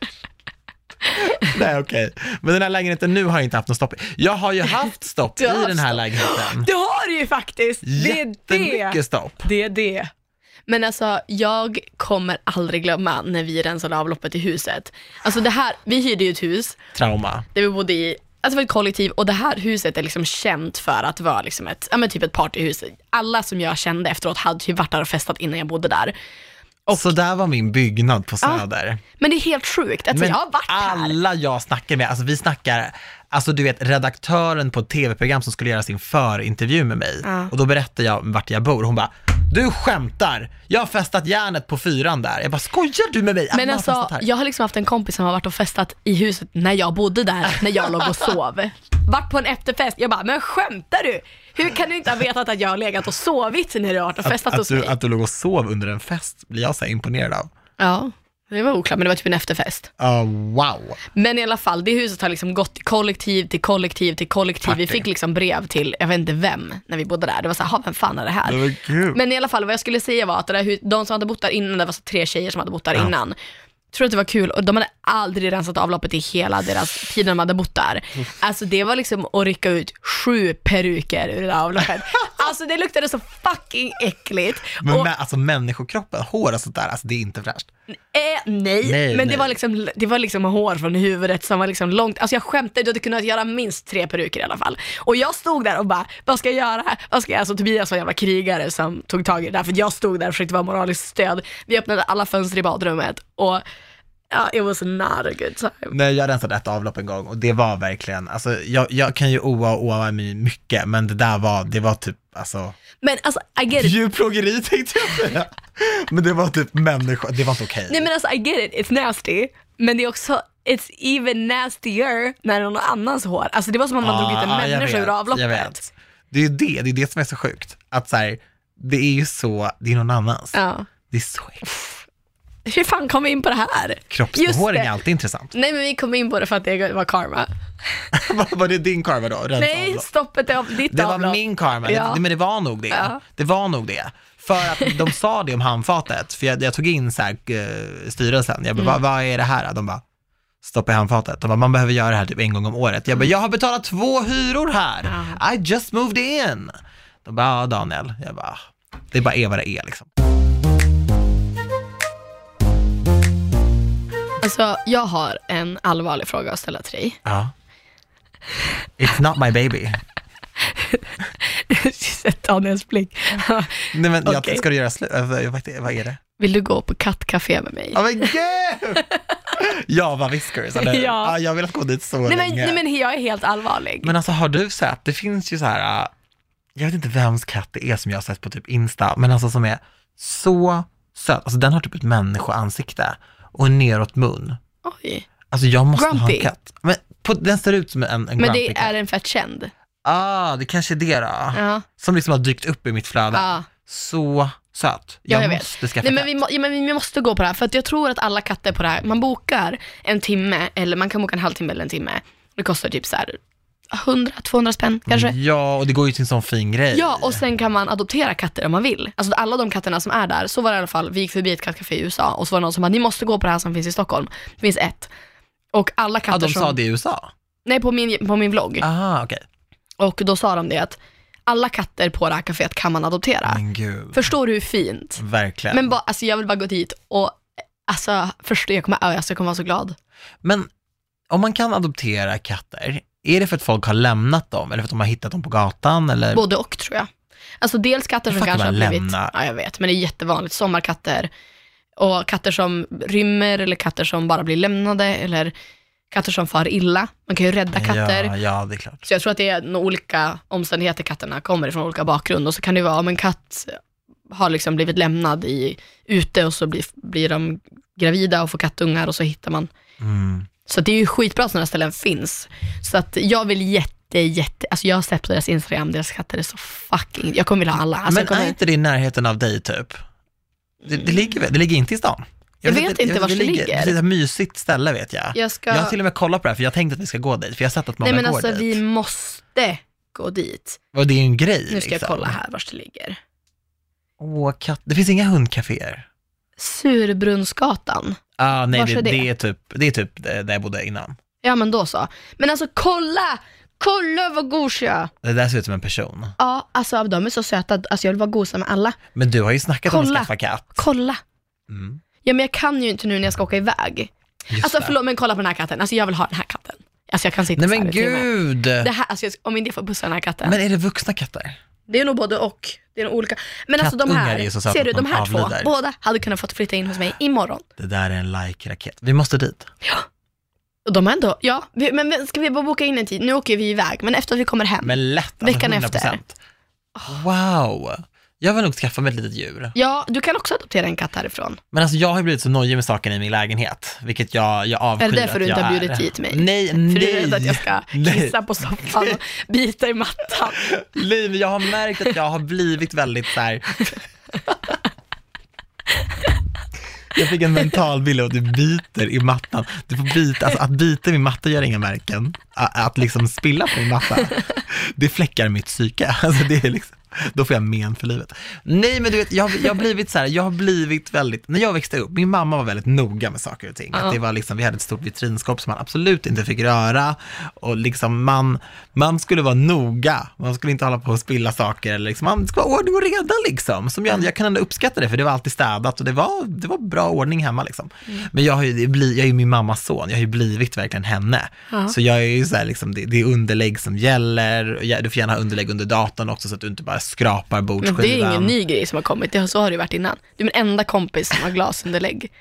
A: <laughs> Nej okej. Men den här lägenheten nu har jag inte haft något stopp i. Jag har
B: <laughs>
A: ju haft stopp
B: Du
A: i
B: har
A: den här
B: stopp.
A: lägenheten.
B: Det har du ju faktiskt! Det är det.
A: Jättemycket stopp.
B: Det är det. Men alltså, jag kommer aldrig glömma när vi rensade avloppet i huset. Alltså det här, vi hyrde ju ett hus
A: Trauma.
B: där vi bodde i, alltså för ett kollektiv och det här huset är liksom känt för att vara liksom ett, ja men typ ett partyhus. Alla som jag kände efteråt hade typ varit där och festat innan jag bodde där.
A: Så där var min byggnad på Söder.
B: Men det är helt sjukt att jag har varit här.
A: alla jag snackar med, alltså vi snackar, alltså du vet redaktören på ett tv-program som skulle göra sin förintervju med mig
B: Ja.
A: och då berättar jag vart jag bor, hon bara du skämtar! Jag har festat järnet på fyran där. Jag bara, skojar du med mig?
B: Men
A: Alla har
B: alltså,
A: festat här."
B: jag har liksom haft en kompis som har varit och festat i huset när jag bodde där, när jag låg och <laughs> sov. Vart på en efterfest, jag bara, men skämtar du? Hur kan du inte ha vetat att jag har legat och sovit när du har varit och festat
A: att,
B: hos
A: du,
B: mig?
A: att du låg och sov under en fest blir jag så här imponerad av.
B: Ja, det var oklart, men det var typ en efterfest.
A: Ja, Uh, wow.
B: Men i alla fall, det huset har liksom gått till kollektiv, till kollektiv, till kollektiv. Vi
A: Fucking.
B: fick liksom brev till, jag vet inte vem, när vi bodde där. Det var så här, "Ha, vem fan är det här?
A: Det var kul.
B: Men i alla fall vad jag skulle säga var att det där, hu- de som hade bott där innan, det var så tre tjejer som hade bott där innan. Tror att det var kul och de hade aldrig rensat avloppet i hela deras tid när de hade bott där. Alltså det var liksom att rycka ut sju peruker ur det där
A: <laughs>
B: avloppet. Alltså det luktade så fucking äckligt.
A: Men
B: och,
A: med, alltså människokroppen, hår och sånt där, alltså det är inte fräscht.
B: eh, nej,
A: Nej,
B: men Det,
A: nej.
B: var liksom, det var liksom hår från huvudet som var liksom långt. Alltså jag skämtar, du hade kunnat göra minst tre peruker i alla fall. Och jag stod där och bara, vad ska jag göra? Vad ska jag? Alltså Tobias var en jävla krigare som tog tag i det där, för jag stod där och försökte vara moraliskt stöd. Vi öppnade alla fönster i badrummet och ja, it was not a good time.
A: Nej, jag rensade ett avlopp en gång och det var verkligen, alltså jag, jag kan ju oa och oa mig mycket, men det där var, det var typ, alltså
B: Men alltså, I get it.
A: Djurplågeri <laughs> tänkte jag säga. Men det var typ människa, det var inte okej.
B: Nej men alltså, I get it, it's nasty. Men det är också, it's even nastier när det är någon annans hår. Alltså det var som om man drog ut en
A: Ah, jag
B: människa
A: vet,
B: ur avloppet.
A: jag vet. Det är ju det, det är det som är så sjukt. Att så här, det är ju så, det är någon annans.
B: Ja.
A: Det är så äckligt.
B: Hur fan kom vi in på det här? Just
A: Kroppsbehåring
B: det.
A: är alltid intressant. <laughs>
B: Nej men vi kom in på det för att det var karma.
A: Vad var det din karma då? Rensa
B: Nej,
A: avlopp.
B: stoppet är av ditt
A: Det
B: avlopp.
A: var min karma,
B: Ja.
A: det, men det var nog det.
B: Ja.
A: Det var nog det. För att
B: <laughs>
A: de sa det om handfatet, för jag, jag tog in så här, eh, styrelsen, jag bara,
B: Mm.
A: vad, vad är det här? De bara, stoppa i handfatet. De bara, man behöver göra det här typ en gång om året. Jag bara,
B: Mm.
A: jag har betalat två hyror här, I just moved in. De bara, ja Daniel. Jag bara, "Ah." det är bara är vad det är liksom.
B: Alltså, jag har en allvarlig fråga att ställa till <laughs> dig.
A: Ja. It's not my baby.
B: Sett Daniels blick.
A: Nej men,
B: Okej.
A: jag, ska du göra slut? Alltså, jag vet inte, Vad är det?
B: <laughs> Vill du gå på kattcafé med mig?
A: Ja men
B: <laughs>
A: gud! Jag var viskers, eller hur?
B: Ja.
A: ja. Jag har velat gå dit så
B: nej, men,
A: länge.
B: nej men jag är helt allvarlig.
A: Men alltså har du sett, det finns ju så här, äh, jag vet inte vems katt det är som jag har sett på typ Insta, men alltså som är så söt. Alltså den har typ ett människoansikte och en neråt mun.
B: Oj.
A: Alltså jag måste ha en
B: Grumpy.
A: katt. Men på, den ser ut som en, en
B: Men
A: grumpy
B: det är
A: cat.
B: den för att känd?
A: Ah, det kanske är det då.
B: Ja.
A: Som liksom har dykt upp i mitt flöde.
B: ja.
A: Så söt.
B: Ja,
A: Jag,
B: jag vet.
A: måste skaffa
B: Nej, men
A: katt.
B: vi, må, ja, men vi måste gå på det här, för att jag tror att alla katter på det här, man bokar en timme, eller man kan boka en halvtimme eller en timme. Det kostar typ så här 100-200 spänn kanske.
A: Mm, Ja, och det går ju till en sån fin grej.
B: Ja, och sen kan man adoptera katter om man vill. Alltså alla de katterna som är där, så var det i alla fall, vi gick förbi ett kattcafé i USA och så var det någon som bara, ni måste gå på det här som finns i Stockholm. Det finns ett. Och alla katter
A: ja, de
B: som...
A: sa det i USA.
B: Nej, på min, på min vlogg.
A: Ah, okej.
B: Och då sa de det att alla katter på det här kaféet kan man adoptera.
A: Men gud.
B: Förstår du hur fint?
A: Verkligen.
B: Men
A: Men,
B: bara, alltså jag vill bara gå dit och alltså först jag kommer, alltså jag kommer vara så glad.
A: om man kan adoptera katter, är det för att folk har lämnat dem eller för att de har hittat dem på gatan? Eller?
B: Både och tror jag. Alltså dels katter som
A: Fuck,
B: kanske har
A: vad
B: blivit,
A: lämna.
B: ja jag vet, men det är jättevanligt, sommarkatter och katter som rymmer eller katter som bara blir lämnade eller katter som far illa. Man kan ju rädda katter.
A: Ja, ja, det är klart.
B: Så jag tror att det är nog olika omständigheter katterna kommer ifrån, olika bakgrund. Och så kan det ju vara om en katt har liksom blivit lämnad i, ute och så blir, blir de gravida och får kattungar och så hittar man.
A: Mm.
B: Så det är ju skitbra att sådana ställen finns. Så att jag vill jätte, jätte, alltså jag har sett på deras Instagram, deras katter är så fucking, jag kommer vilja ha alla. Alltså
A: men
B: jag kommer,
A: är inte det i närheten av dig typ? Det, det, ligger, väl- det ligger inte i stan?
B: Jag vet inte
A: var
B: vars det ligger.
A: Det är ett mysigt ställe vet jag.
B: jag ska,
A: Jag har till och med kollat på det här, för jag tänkte att vi ska gå dit, för jag har sett att många
B: nej men
A: går
B: alltså
A: dit.
B: vi måste gå dit.
A: Och det är ju en grej.
B: Nu ska jag
A: liksom.
B: kolla här vars det ligger.
A: Åh, katt. Det finns inga hundcaféer.
B: Surbrunnsgatan.
A: Ah, nej,
B: Vars
A: det,
B: är det?
A: det? är typ, det är typ där jag bodde innan.
B: Ja men då så. Men alltså kolla! Kolla vad gos jag är.
A: Det där ser ut som en person.
B: Ja, alltså de är så söta. Alltså jag vill bara gosa med alla.
A: Men du har ju snackat om
B: Kolla.
A: att skaffa katt.
B: Kolla!
A: Mm.
B: Ja men jag kan ju inte nu när jag ska åka iväg.
A: Just
B: Alltså
A: det.
B: förlåt men kolla på den här katten. Alltså jag vill ha den här katten. Alltså jag kan sitta
A: Nej
B: så här
A: men
B: i timmar.
A: gud!
B: Det här, alltså jag, om inte jag får pussa den här katten.
A: Men är det vuxna katter?
B: det är nog både och. Det är nog olika. Men alltså de
A: Kattungar
B: här,
A: är ju så söta
B: ser du
A: att
B: de
A: de
B: här
A: avlider.
B: två, båda hade kunnat fått flytta in hos mig imorgon.
A: Det där är en like-raket. Vi måste dit.
B: Och de har ändå, ja, vi, men ska vi bara boka in en tid? Nu åker vi iväg, men efter att vi kommer hem.
A: Men lätt, alltså
B: Veckan
A: 100%.
B: efter.
A: Wow! Jag vill nog skaffa mig ett litet djur.
B: Ja, du kan också adoptera en katt härifrån.
A: Men alltså jag har ju blivit så nojig med saken i min lägenhet, vilket jag, jag avskyr
B: Är det
A: att
B: därför du inte
A: jag
B: har
A: är.
B: bjudit hit mig?
A: Nej,
B: För
A: nej.
B: du är rädd att jag ska
A: <laughs> nej.
B: kissa på soffan
A: <laughs>
B: och bita i mattan.
A: Nej, men jag har märkt att jag har blivit väldigt så här. Jag fick en mental bild av att du biter i mattan. Du får bita, alltså att bita i min matta gör inga märken. A- Att liksom spilla på min matta, det fläckar mitt psyke. Alltså det är liksom, då får jag men för livet. Nej men du vet, jag, har- jag har blivit så här, jag har blivit väldigt, när jag växte upp, min mamma var väldigt noga med saker och ting. Att det var liksom, vi hade ett stort vitrinskåp som man absolut inte fick röra och liksom man, man skulle vara noga, man skulle inte hålla på och spilla saker eller liksom, man ska vara ordning och reda liksom. Som jag, jag kan ändå uppskatta det för det var alltid städat och det var, det var bra ordning hemma liksom.
B: Mm.
A: Men jag, har ju, det blir- jag är ju min mammas son, jag har ju blivit verkligen henne.
B: Ja.
A: Så jag är ju så här, liksom, det, det är underlägg som gäller, Och jag- du får gärna ha underlägg under datorn också så att du inte bara skrapar
B: Men
A: bordsskivan.
B: det är ingen ny grej som har kommit, det, har- så har det ju varit innan. Du är min enda kompis som har glasunderlägg.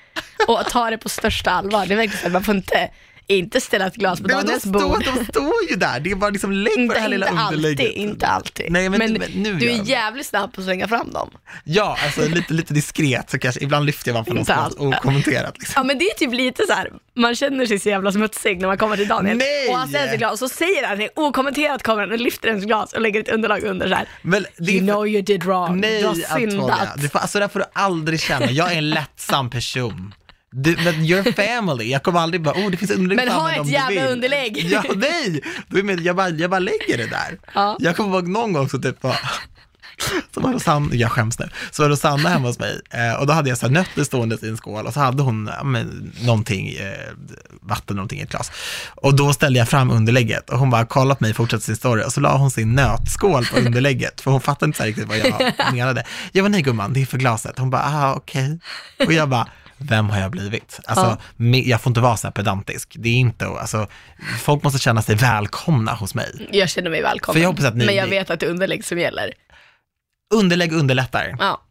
B: Och tar det på största allvar. Det är verkligen så här, man får inte, inte ställa ett glas på
A: Nej, men de,
B: Daniels
A: står,
B: bord.
A: de står ju där, det är bara liksom lägg på det
B: Inte,
A: här lilla
B: inte alltid,
A: underlägget.
B: inte alltid.
A: Nej, men-
B: men
A: men nu
B: du
A: gör
B: är
A: vi.
B: jävligt snabb på att slänga fram dem.
A: Ja, alltså lite, lite diskret så kanske, ibland lyfter jag bara på något
B: Inte
A: sånt
B: allt.
A: okommenterat. Liksom.
B: Ja men det är typ lite så här. man känner sig så jävla smutsig när man kommer till Daniel.
A: Nej!
B: Och han ställer sitt glas och så säger han det, okommenterat kommer han och lyfter ens glas och lägger ett underlag under så här.
A: Men det är
B: You
A: för-
B: know you did wrong,
A: Nej,
B: du har
A: Antonija.
B: syndat.
A: Du får, alltså, det får du aldrig känna. Jag är en lättsam person. Du, men you're family. Jag kommer aldrig bara, oh det finns underlägg
B: Men
A: för
B: ha
A: använd
B: ett
A: om du
B: jävla
A: vill.
B: underlägg.
A: Ja, nej. Du, men jag, bara, jag bara lägger det där.
B: Ja.
A: Jag kommer ihåg någon gång så typ bara, så var Rosanna, jag skäms nu, så var Rosanna hemma hos mig eh, och då hade jag så här nötter stående i en skål och så hade hon ja, men, någonting, eh, vatten någonting i ett glas. Och då ställde jag fram underlägget och hon bara kollade på mig och fortsatte sin story och så la hon sin nötskål på underlägget för hon fattade inte så här riktigt vad
B: <laughs>
A: jag menade. Jag var nej gumman, det är för glaset. Hon bara, ah okej. Och jag bara, vem har jag blivit? Alltså,
B: Ja.
A: me- jag får inte vara så här pedantisk. Det är inte, alltså, folk måste känna sig välkomna hos mig.
B: Jag känner mig välkommen.
A: För jag hoppas att ni-
B: men jag
A: ni-
B: vet att det är underlägg som gäller.
A: Underlägg underlättar.
B: Ja.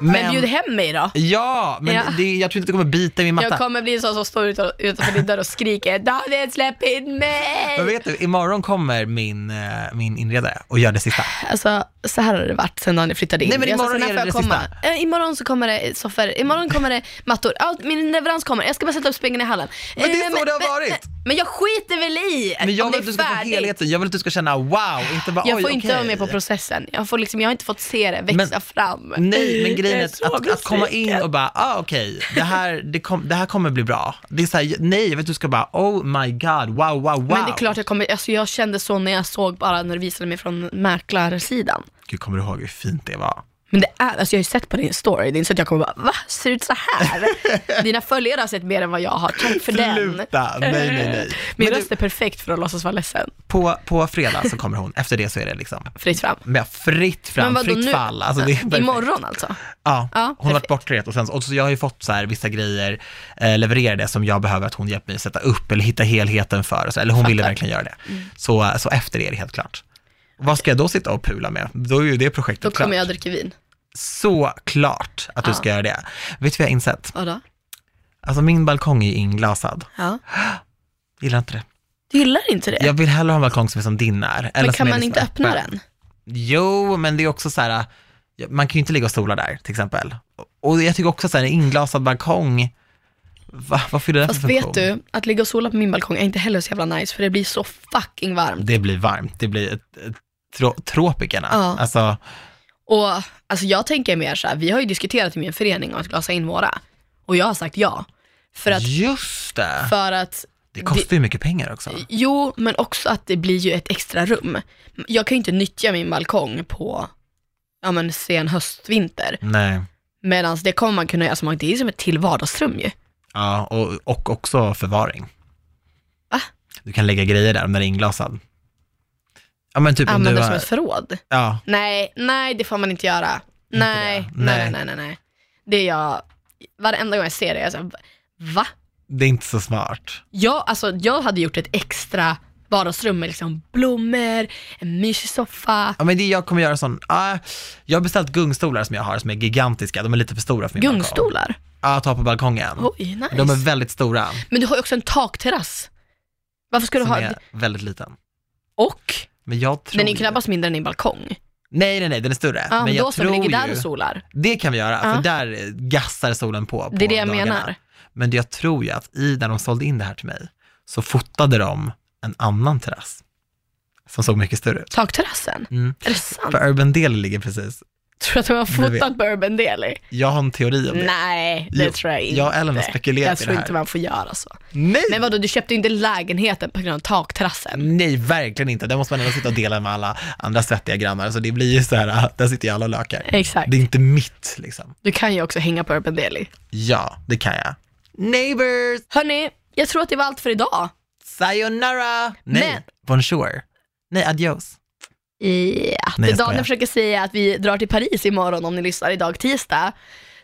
B: Men, bjud hem mig då.
A: Ja, men
B: Ja.
A: Det, jag tror inte det kommer bita i min matta.
B: Jag kommer bli en sån som står utan- utanför din dörr och skriker David släpp in mig!
A: Men vet du, imorgon kommer min, eh, min inredare och gör det sista.
B: Alltså så här har det varit sen dagen jag flyttade in.
A: Nej, men
B: jag sa,
A: imorgon
B: så
A: är
B: här får
A: det
B: jag
A: det
B: komma. Eh, imorgon så kommer det soffor, imorgon kommer det mattor, Allt, min leverans kommer, jag ska bara sätta upp spegeln i hallen.
A: Men det är
B: Eh,
A: så det har varit.
B: Men, men jag skiter väl i
A: Men jag vill
B: om det
A: att du
B: är
A: ska få
B: färdigt.
A: helheten, jag vill att du ska känna wow, inte bara
B: Jag
A: oj,
B: får inte vara
A: okej.
B: med på processen, jag, får liksom, jag har inte fått se det växa
A: Men-
B: fram.
A: Nej, men grejen
B: Jag
A: är
B: är
A: att,
B: så
A: att, att komma in
B: besviken.
A: och bara, ah, okej, det, här, det, kom, det här kommer bli bra. Det är så här, nej, jag vet, du ska bara, oh my god, wow, wow, wow.
B: Men det är klart jag kommer, alltså jag kände så när jag såg bara när du visade mig från mäklarsidan.
A: Gud, kommer du ihåg hur fint det var?
B: Men det är, alltså jag har ju sett på din story, det är inte så att jag kommer bara va? Ser det ut så
A: <laughs>
B: här? Dina följare har sett mer än vad jag har, tack för den.
A: Sluta, nej, nej, nej.
B: Min
A: Men du,
B: röst är perfekt för att låtsas vara ledsen.
A: på, på fredag så kommer hon, efter det så är det liksom,
B: Fritt fram.
A: med fritt fram,
B: vadå,
A: fritt
B: nu-
A: fall. Alltså, det är perfekt.
B: Imorgon alltså?
A: Ja,
B: Ja,
A: hon har varit
B: perfekt.
A: bortrest och, sen, och så jag har ju fått så här, vissa grejer eh, levererade som jag behöver att hon hjälper mig att sätta upp eller hitta helheten för. Och så, eller hon ville
B: Fattar. Mm.
A: verkligen göra det. Så, så efter det är det helt klart. Vad ska jag då sitta och pula med? Då är ju det projektet
B: Då
A: klart.
B: kommer jag att dricka vin.
A: Så klart att du
B: Ja.
A: ska göra det. Vet du vad jag har insett?
B: Vadå?
A: Alltså min balkong är inglasad.
B: Ja.
A: Gillar inte det.
B: Du gillar inte det?
A: Jag vill hellre ha en balkong som är som din är. eller
B: men
A: som
B: kan
A: är
B: man
A: liksom
B: inte öppna
A: öppen.
B: den?
A: Jo, men det är också så här, ja, man kan ju inte ligga och sola där till exempel. Och jag tycker också så här, en inglasad balkong, va, vad fyller den för
B: Fast
A: funktion?
B: vet du, att ligga och sola på min balkong är inte heller så jävla nice för det blir så fucking varmt.
A: Det blir varmt, det blir ett, ett, tro, tropikerna.
B: Ja.
A: Alltså,
B: Och alltså jag tänker mer så här, vi har ju diskuterat i min förening om att glasa in våra. Och jag har sagt ja. För att,
A: just det.
B: för att
A: Det kostar ju mycket pengar också.
B: Jo, men också att det blir ju ett extra rum. Jag kan ju inte nyttja min balkong på ja, men sen höst, vinter.
A: Nej.
B: Medan det kommer man kunna göra, alltså, man- det är ju som ett till vardagsrum ju.
A: Ja, och, och också förvaring.
B: Va?
A: Du kan lägga grejer där om den är inglasad. Ja, men typ om
B: Använda
A: du
B: som
A: har,
B: ett förråd.
A: ja,
B: Nej, nej det får man inte göra. Nej,
A: det. Nej.
B: nej, nej, nej, nej, nej. Det är jag, varenda gång jag ser det, jag är såhär, va?
A: det är inte så smart.
B: Jag, alltså, jag hade gjort ett extra vardagsrum med liksom blommor, en mysig soffa.
A: Ja men det jag kommer göra sån, ah, jag har beställt gungstolar som jag har som är gigantiska, de är lite för stora för min balkong.
B: Gungstolar.
A: Ja, att ha på balkongen.
B: Oj, nice.
A: De är väldigt stora,
B: Men du har ju också en takterrass. Varför ska du
A: som
B: ha,
A: är väldigt liten.
B: och
A: Men jag tror
B: den är ju
A: ju-
B: knappast mindre än din balkong.
A: Nej nej nej, den är större.
B: Ja, Ah, men
A: men jag
B: då som
A: tror
B: ligger där
A: ju,
B: och solar.
A: Det kan vi göra,
B: Ja.
A: för där gassar solen på. på
B: Det är det jag
A: dagarna.
B: menar.
A: Men jag tror ju att i, när de sålde in det här till mig, så fotade de en annan terrass. Som såg mycket större ut.
B: Takterrassen.
A: Mm.
B: Är det sant?
A: För Urban Deli ligger precis,
B: Tror du att de har
A: Du vet.
B: fotat på Urban Deli?
A: jag har en teori om det.
B: Nej, det
A: Jo,
B: tror jag inte.
A: jag och Ellen har spekulerat i
B: Jag
A: det
B: tror
A: här.
B: inte man får göra så.
A: Nej!
B: Men vadå, du köpte ju inte lägenheten på grund av takterrassen?
A: Nej, verkligen inte. Där måste man ändå sitta och dela med alla andra svettiga grannar. Så det blir ju så här, ah, där sitter ju alla och lökar.
B: Exakt.
A: Det är inte mitt liksom.
B: Du kan ju också hänga på Urban Deli.
A: Ja, det kan jag. Neighbors,
B: Hörni, jag tror att det var allt för idag.
A: sayonara! Nej,
B: Men-
A: bonjour. Nej, adios.
B: Ja,
A: Nej, jag skojar.
B: Daniel försöker säga att vi drar till Paris imorgon om ni lyssnar idag tisdag.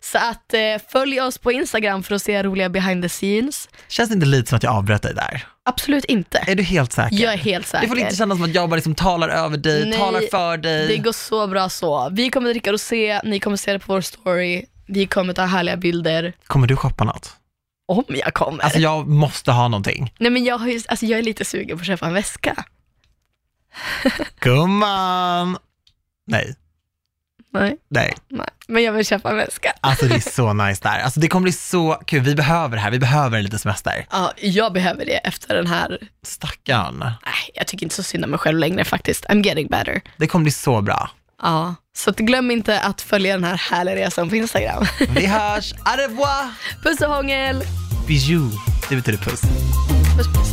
B: Så att eh, följ oss på Instagram för att se roliga behind the scenes.
A: Känns det inte lite som att jag avbröt dig där?
B: Absolut inte.
A: Är du helt säker?
B: Jag är helt
A: Det
B: säker.
A: får inte kännas som att jag bara liksom talar över dig,
B: Nej,
A: talar för dig.
B: Det går så bra så. Vi kommer dricka rosé, ni kommer se det på vår story, vi kommer ta härliga bilder.
A: Kommer du shoppa något?
B: Om jag kommer.
A: Alltså jag måste ha någonting.
B: Nej men jag, har ju, alltså, jag är lite sugen på att köpa en väska.
A: Gumman! Nej,
B: Nej,
A: nej.
B: nej. Men jag vill köpa en väska.
A: Alltså det är så <laughs> nice där. Alltså det kommer bli så kul. Vi behöver det här. Vi behöver en liten semester.
B: Ja, jag behöver det efter den här,
A: Stackarn.
B: nej jag tycker inte så synd om mig själv längre faktiskt. I'm getting better.
A: Det kommer bli så bra.
B: Ja, så att glöm inte att följa den här härliga resan på Instagram. <laughs>
A: Vi hörs. Au revoir!
B: Puss och hångel!
A: Bijou. Det betyder puss.
B: Puss, puss.